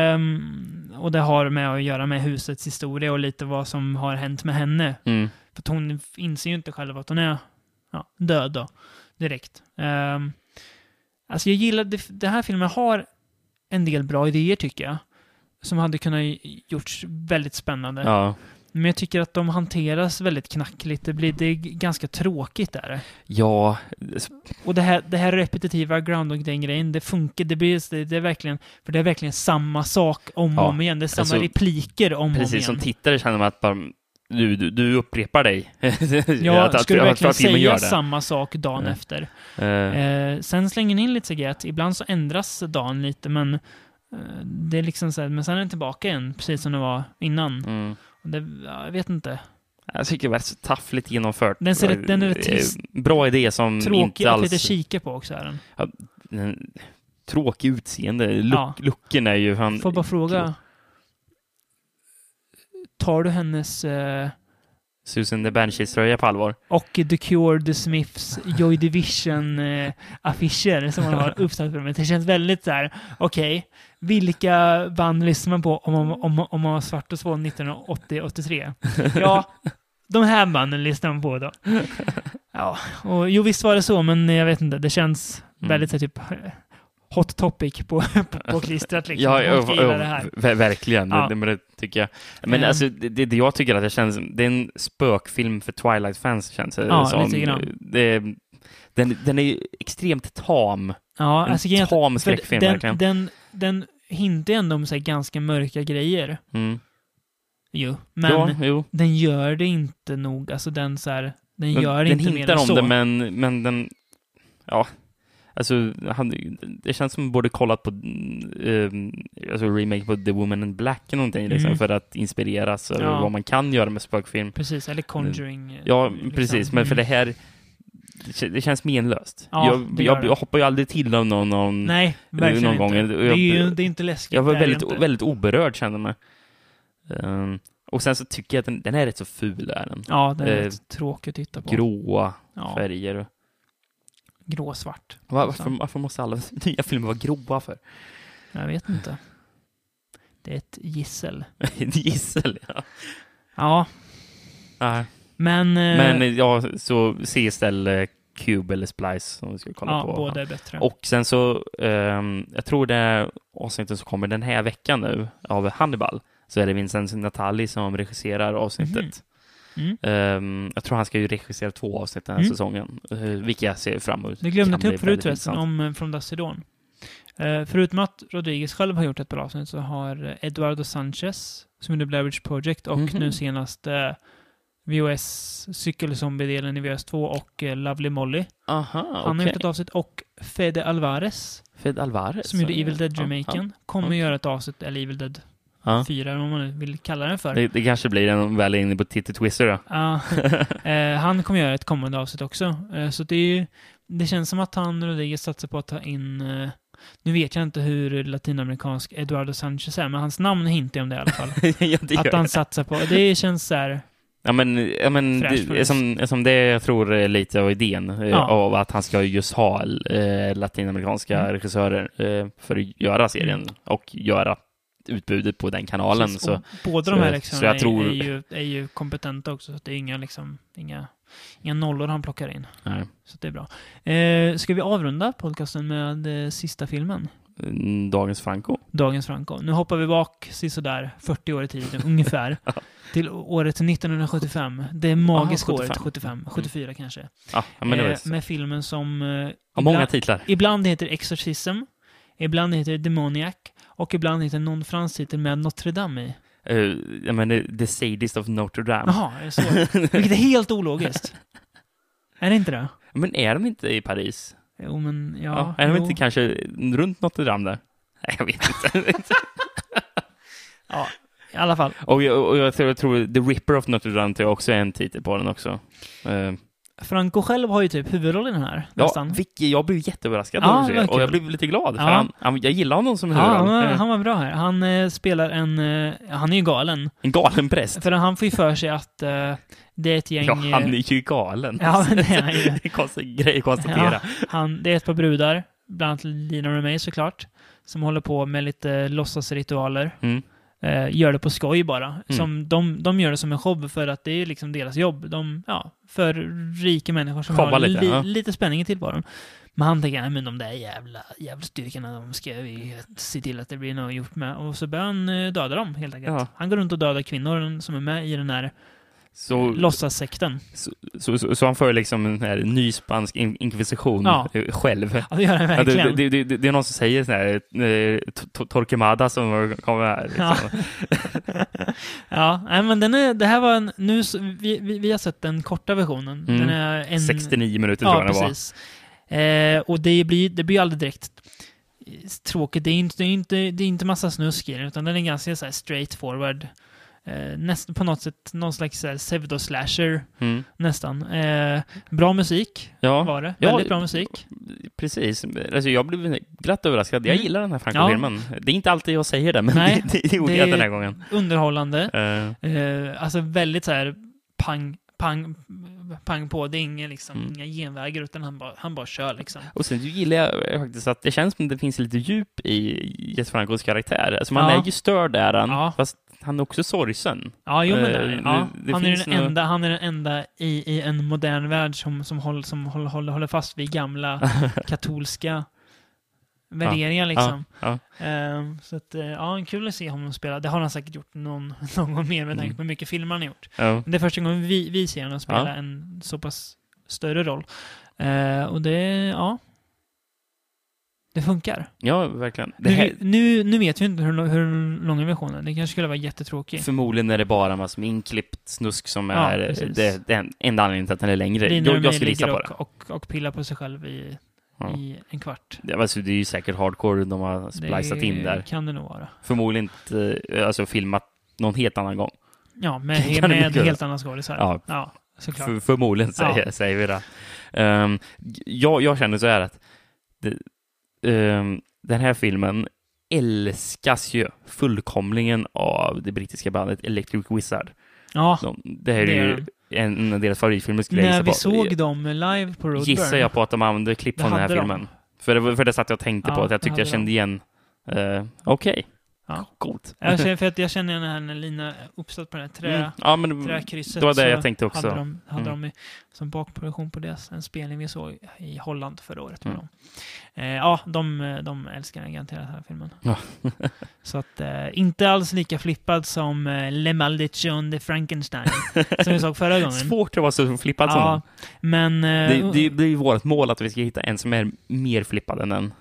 Ehm, och det har med att göra med husets historia och lite vad som har hänt med henne. Mm. För att hon inser ju inte själv att hon är ja, död då, direkt. Um, alltså jag gillar, det, den här filmen har en del bra idéer tycker jag. Som hade kunnat gjorts väldigt spännande. Ja. Men jag tycker att de hanteras väldigt knackligt. Det blir det är ganska tråkigt där. ja, Och det här, det här repetitiva Groundhog Day-grejen, det funkar. Det, blir, det, det är verkligen, för det är verkligen samma sak om Ja, och om igen. Det är samma alltså, repliker om och om igen. precis som tittare känner man att bara, du, du, du upprepar dig. Ja, Att- att- skulle att- du att verkligen filmen säga gör det. samma sak dagen Mm. efter? Eh, Eh, sen slänger ni in lite CG, att ibland så ändras dagen lite, men eh, det är liksom så här, men sen är den tillbaka igen, precis som det var innan. mm. Och Det, ja, jag vet inte. Jag tycker det var så taffligt genomfört. Den ser rätt- den är rätt Eh, trist. Bra idé som Tråkig inte att alls... Mm, lite kika på också är den. den- Tråkig utseende. Luck, Ja. Lucken är ju... Han, Får jag bara fråga. Tar du hennes eh, Susan the Banshees-tröja på allvar. och The Cure, The Smiths, Joy Division-affischer som man har uppsatt på dem. Det känns väldigt så här, okej, vilka band lyssnar man på om man, om, om man var svart och svån 1980-83? Ja, de här banden lyssnar man på då. Ja, och jo visst var det så, men jag vet inte, det känns Mm. väldigt så här, typ hot topic på, på, på klistret liksom. Ja, Folk ja, gillar ja, det här. ver- verkligen. Ja. Det, det, men det tycker jag. Men Ehm. alltså, det, det jag tycker att det känns... Det är en spökfilm för Twilight-fans, känns det Ja, som. lite grann. Det, den, den är ju extremt tam. Ja, En alltså, grejen är att- tam för skräckfilm, den, verkligen. Den, den hintar ju ändå om så här, ganska mörka grejer. Mm. Jo, men ja, jo. den gör det inte nog. Alltså den så här, den gör den inte mer hintar än om så. det, men, men den... Ja. Alltså, han, det känns som borde kollat på um, alltså remake på The Woman in Black eller någonting, liksom, Mm. för att inspireras av Ja. vad man kan göra med spökfilm. Precis, eller Conjuring. eh, Ja, liksom. precis, men för det Mm. här... Det, kän- det känns menlöst. Ja, jag, det gör jag, det. jag hoppar ju aldrig till av någon... någon Nej, verkligen någon inte. gång. Jag- det, är ju, det är inte läskigt. jag var det är det väldigt, inte. väldigt oberörd, kände jag mig. Ehm, och sen så tycker jag att den, den är rätt så ful, är den. Ja, den är eh, rätt tråkig att titta på. Gråa ja, färger. och- Gråsvart. Var- Varför, varför måste alla nya filmer vara grova för? Jag vet inte. Det är ett gissel. Ett Gissel, ja. Ja, Nej. men... eh, Men ja, så se istället eh, Cube eller Splice som vi ska kolla ja, på. båda är bättre. Och sen så, ehm, jag tror det är avsnittet som kommer den här veckan nu av Hannibal, så är det Vincent Natali som regisserar avsnittet. Mm. Ehm, jag tror han ska ju regissera två avsnitt den här Mm. säsongen, eh, vilket jag ser fram emot. Det glömde Kan jag ta bli upp förut väldigt förresten, om intressant. eh, From Dusk to Dawn. Eh, förutom att Rodriguez själv har gjort ett par avsnitt så har eh, Eduardo Sanchez, som gjorde Blair Witch Project, och Mhm. nu senast eh, VOS Cykelzombie-delen i VOS 2 och eh, Lovely Molly. Aha, Han har okej. gjort ett avsnitt och Fede Alvarez, Fed Alvarez. som gjorde Ja, Evil ja, Dead-remaken, kommer okej. göra ett avsnitt, eller Evil Dead Ja. 4, eller vad man nu vill kalla den för. Ah, Det, det kanske blir en väl inne på Titti Twister då. Ja, eh, han kommer göra ett kommande avsnitt också. Eh, så det, är ju, det känns som att han, Rodriguez, satsar på att ta in... Eh, nu vet jag inte hur latinamerikansk Eduardo Sanchez är, men hans namn hintar ju om det i alla fall. ja, det gör att han satsar på... Det känns så här... Ja men, ja, men Fräsch det, produkt. som, som det jag tror är lite av idén eh, Ja. av att han ska just ha eh, latinamerikanska Mm. regissörer eh, för att göra serien Mm. och göra utbudet på den kanalen. precis, Så, och båda så de här jag- så jag läxorna tror- är, är, ju, är ju kompetenta också, så att det är inga, liksom, inga, inga nollor han plockar in. nej. Så att det är bra. Eh, ska vi avrunda podcasten med eh, sista filmen? Mm, Dagens Franco. Dagens Franco. Nu hoppar vi bak sådär 40 år i tiden ungefär till året 1975. Det magiska Aha, 75. året 75, 74 kanske. Ah, ja, men det var eh, med filmen som eh, har många titlar. ibland heter Exorcism, ibland heter Demoniac Och ibland hittar någon fransk titel med Notre Dame i. Eh, jag menar, The Sadist of Notre Dame. Jaha, är det så? Vilket är helt ologiskt. Är det inte det? Men är de inte i Paris? Jo, men ja. Ja, är de jo. inte kanske runt Notre Dame där? Nej, jag vet inte. Ja, i alla fall. och jag, och jag, tror, jag tror The Ripper of Notre Dame tror jag också är en titel på den också. Eh, Franco själv har ju typ huvudrollen här, ja, nästan. vilket, jag blev jätteöverraskad Ja, när jag såg det var det. och jag kul. blev lite glad. För Ja. han, han, jag gillar honom som Ja, han, huvudroll. var, Eh, han var bra här. Han eh, spelar en... Eh, han är ju galen. En galen präst. För han får ju för sig att eh, det är ett gäng... Ja, eh, han är ju galen. Ja, men det är han ju. det är en konstig grej att konstatera. han, det är ett par brudar, bland annat Lina och mig såklart, som håller på med lite låtsasritualer. Mm. Eh, gör det på skoj bara. Som de, de gör det som en jobb för att det är liksom deras jobb. De, ja, för rika människor som Jobba har lite, li, ja. lite spänning i tillvaron. Men han tänker, nej men de där jävla, jävla styrkorna, de ska vi se till att det blir något gjort med. Och så börjar han eh, döda dem helt enkelt. Ja. Han går runt och dödar kvinnor som är med i den här Så, låtsassekten. så, så, så han för liksom en här ny spansk in- inkvisition Ja. eh, själv. Ja, det gör han Ja, det, verkligen. det, det, det, det är någon som säger sån här, eh, to- Torquemada som kommer här. Liksom. Ja, nej, men den är, det här var en, nu, s- vi, vi, vi har sett den korta versionen. Mm. Den är en, 69 minuter ja, Typ, tror jag det var. precis. Eh, och det blir, det blir ju aldrig direkt eh, tråkigt. Det är inte, det är inte, det är inte massa snusk i den, utan den är ganska så här straight forward. Eh, nästan på något sätt, någon slags så här pseudo-slasher Mm. nästan. Eh, bra musik Ja, var det. Ja, Väldigt bra musik. precis. Alltså, jag blev glatt överraskad. Jag Mm. gillar den här Franco-filmen. Det är inte alltid jag säger det, men Nej, det, det, det gjorde det jag är- den här gången. Underhållande. Eh, Eh, alltså väldigt så här pang, pang, pang på. Det är inga, liksom, Mm. inga genvägar, utan han bara, han bara kör liksom. Och sen gillar jag faktiskt att det känns som att det finns lite djup i Jes Francos karaktär. Alltså man Ja. är ju störd är han, Ja. fast han är också sorgsen. Ja, jo men det, Eh, är- ja. det- det han, är finns den några- enda, han är den enda i, i en modern värld som, som, håller, som håller, håller, håller fast vid gamla katolska värderingar liksom. Ja, Ehm, så att, eh, ja, kul att se honom spela. Det har han säkert gjort någon, någon gång mer med tanke på hur mycket filmer han har gjort. ja. Men det är första gången vi, vi ser honom spela Mm. Ja. en så pass större roll. Eh, och det, ja. Det funkar. ja verkligen. Det Nu, här, nu, nu vet vi inte hur, lång- hur lång versionen är. Det kanske skulle vara jättetråkig. förmodligen är det bara massor med inklippt snusk som Ja, är precis. det, den enda anledningen till att den är längre. Lina Jag, Romay jag skulle gissa ligger på och, det. Och, och pillar på sig själv i, Ja. i en kvart. Det, alltså, det är ju säkert hardcore de har splicat det in där. kan det nog vara. Förmodligen inte eh, alltså, filmat någon helt annan gång. Ja, med, Kan det med mycket vara. helt andra skådisar. Ja. såklart. För, förmodligen Ja. säger, säger vi det. Ehm, jag, jag känner så här att det, ehm, den här filmen älskas ju fullkomlingen av det brittiska bandet Electric Wizard. ja, De, det här är Det är ju en av deras favoritfilmer skulle jag när gissa vi på. såg dem live på Roadburn. Gissar jag på att de använde klipp Det från den här hade de. filmen. För det, var- för det satt jag och tänkte Ja, på, att jag det tyckte jag hade kände de. igen. Eh, Okej. Ja. Coolt. Jag känner, för att jag känner den här när Lina är uppsatt på det här trä, Mm. Ja, men träkrysset. det var så det jag tänkte också. Hade de, hade Mm. de i, som bakproduktion på det, en spelning vi såg i Holland förra året med Mm. dem. Eh, ja, de, de älskar den garanterat, den här filmen. Ja. Så att, eh, inte alls lika flippad som eh, Le Maldition de Frankenstein, som vi såg förra gången. Svårt att vara så flippad som den. Ja, men... Det, Eh, det, det är ju vårt mål att vi ska hitta en som är mer flippad än den.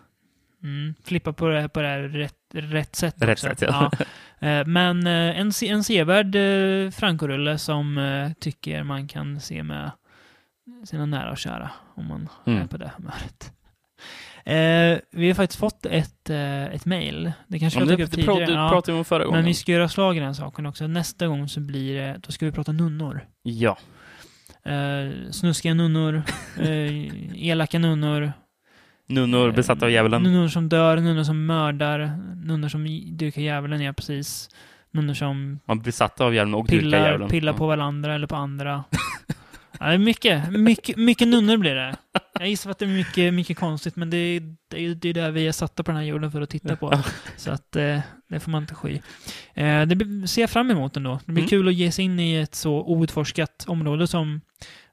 Mm, flippa på det här, på det här rätt, rätt sätt Rätt också. sätt, ja. Ja. Eh, Men eh, en, se- en sevärd eh, Franco-rulle som eh, tycker man kan se med sina nära och kära, om man Mm. är på det humöret. Eh, Vi har faktiskt fått ett, eh, ett mejl. Det kanske Ja, jag men tog det upp det pra- tidigare. du Ja, pratade vi om förra gången. men vi ska göra slag i den saken också. Nästa gång så blir det, då ska vi prata nunnor. Ja, Eh, snuskiga nunnor, eh, elaka nunnor, nunnor besatta av djävulen. Eh, Nunnor som dör, nunnor som mördar, nunnor som dyrkar djävulen, ja precis. Nunnor som Man besatta av djävulen och dyrkar pillar, djävulen. pillar på varandra eller på andra. ja, det är mycket, mycket, mycket nunnor blir det. Jag gissar att det är mycket, mycket konstigt, men det är, det är det är där vi är satta på den här jorden för att titta på. Så att eh, det får man inte sky. Eh, det blir- ser jag fram emot ändå. Det blir Mm. kul att ge sig in i ett så outforskat område som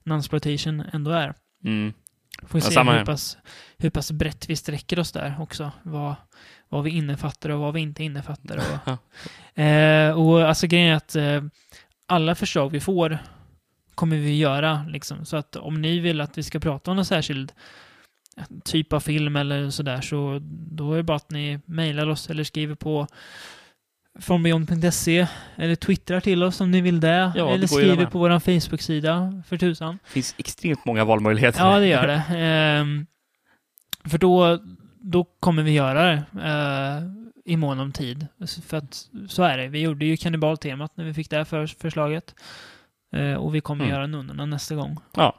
Nunsploitation ändå är. Ja. Mm. Får vi Ja, se samma här. hur, pass, hur pass brett vi sträcker oss där också. Vad, vad vi innefattar och vad vi inte innefattar. Och, eh, och alltså grejen är att eh, alla förslag vi får kommer vi göra. Liksom. Så att om ni vill att vi ska prata om något särskild typ av film eller sådär så då är det bara att ni mejlar oss eller skriver på frombeyond.se eller twittrar till oss om ni vill det. Ja, det eller går ju det skriver med. på vår Facebook-sida, för tusan. Det finns extremt många valmöjligheter. Ja, det gör det. Ehm, för då, då kommer vi göra det eh, i mån om tid. För att så är det. Vi gjorde ju kannibaltemat när vi fick det här för, förslaget. Eh, och vi kommer Mm. göra nunnorna nästa gång. Ja.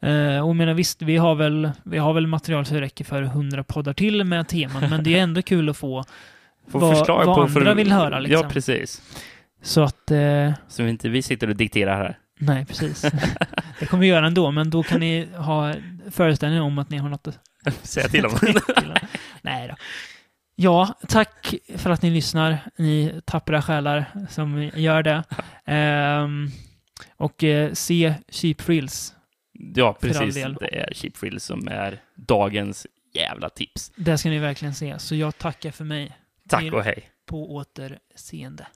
Eh, och jag menar visst, vi har, väl, vi har väl material som räcker för 100 poddar till med teman, men det är ändå kul att få. Få Vad- förslag vad på andra vill höra, liksom. Ja, precis. Så att, eh, Så vi inte vi sitter och dikterar här. nej precis. det kommer vi göra ändå, men då kan ni ha föreställning om att ni har något att Säga till dem. Nej då. Ja, tack för att ni lyssnar, ni tappra själar som gör det. Ehm, och eh, se Cheap Frills. ja, all precis. del. Det är Chip Frill som är dagens jävla tips. Det ska ni verkligen se. Så jag tackar för mig. Tack Till- och hej. På återseende.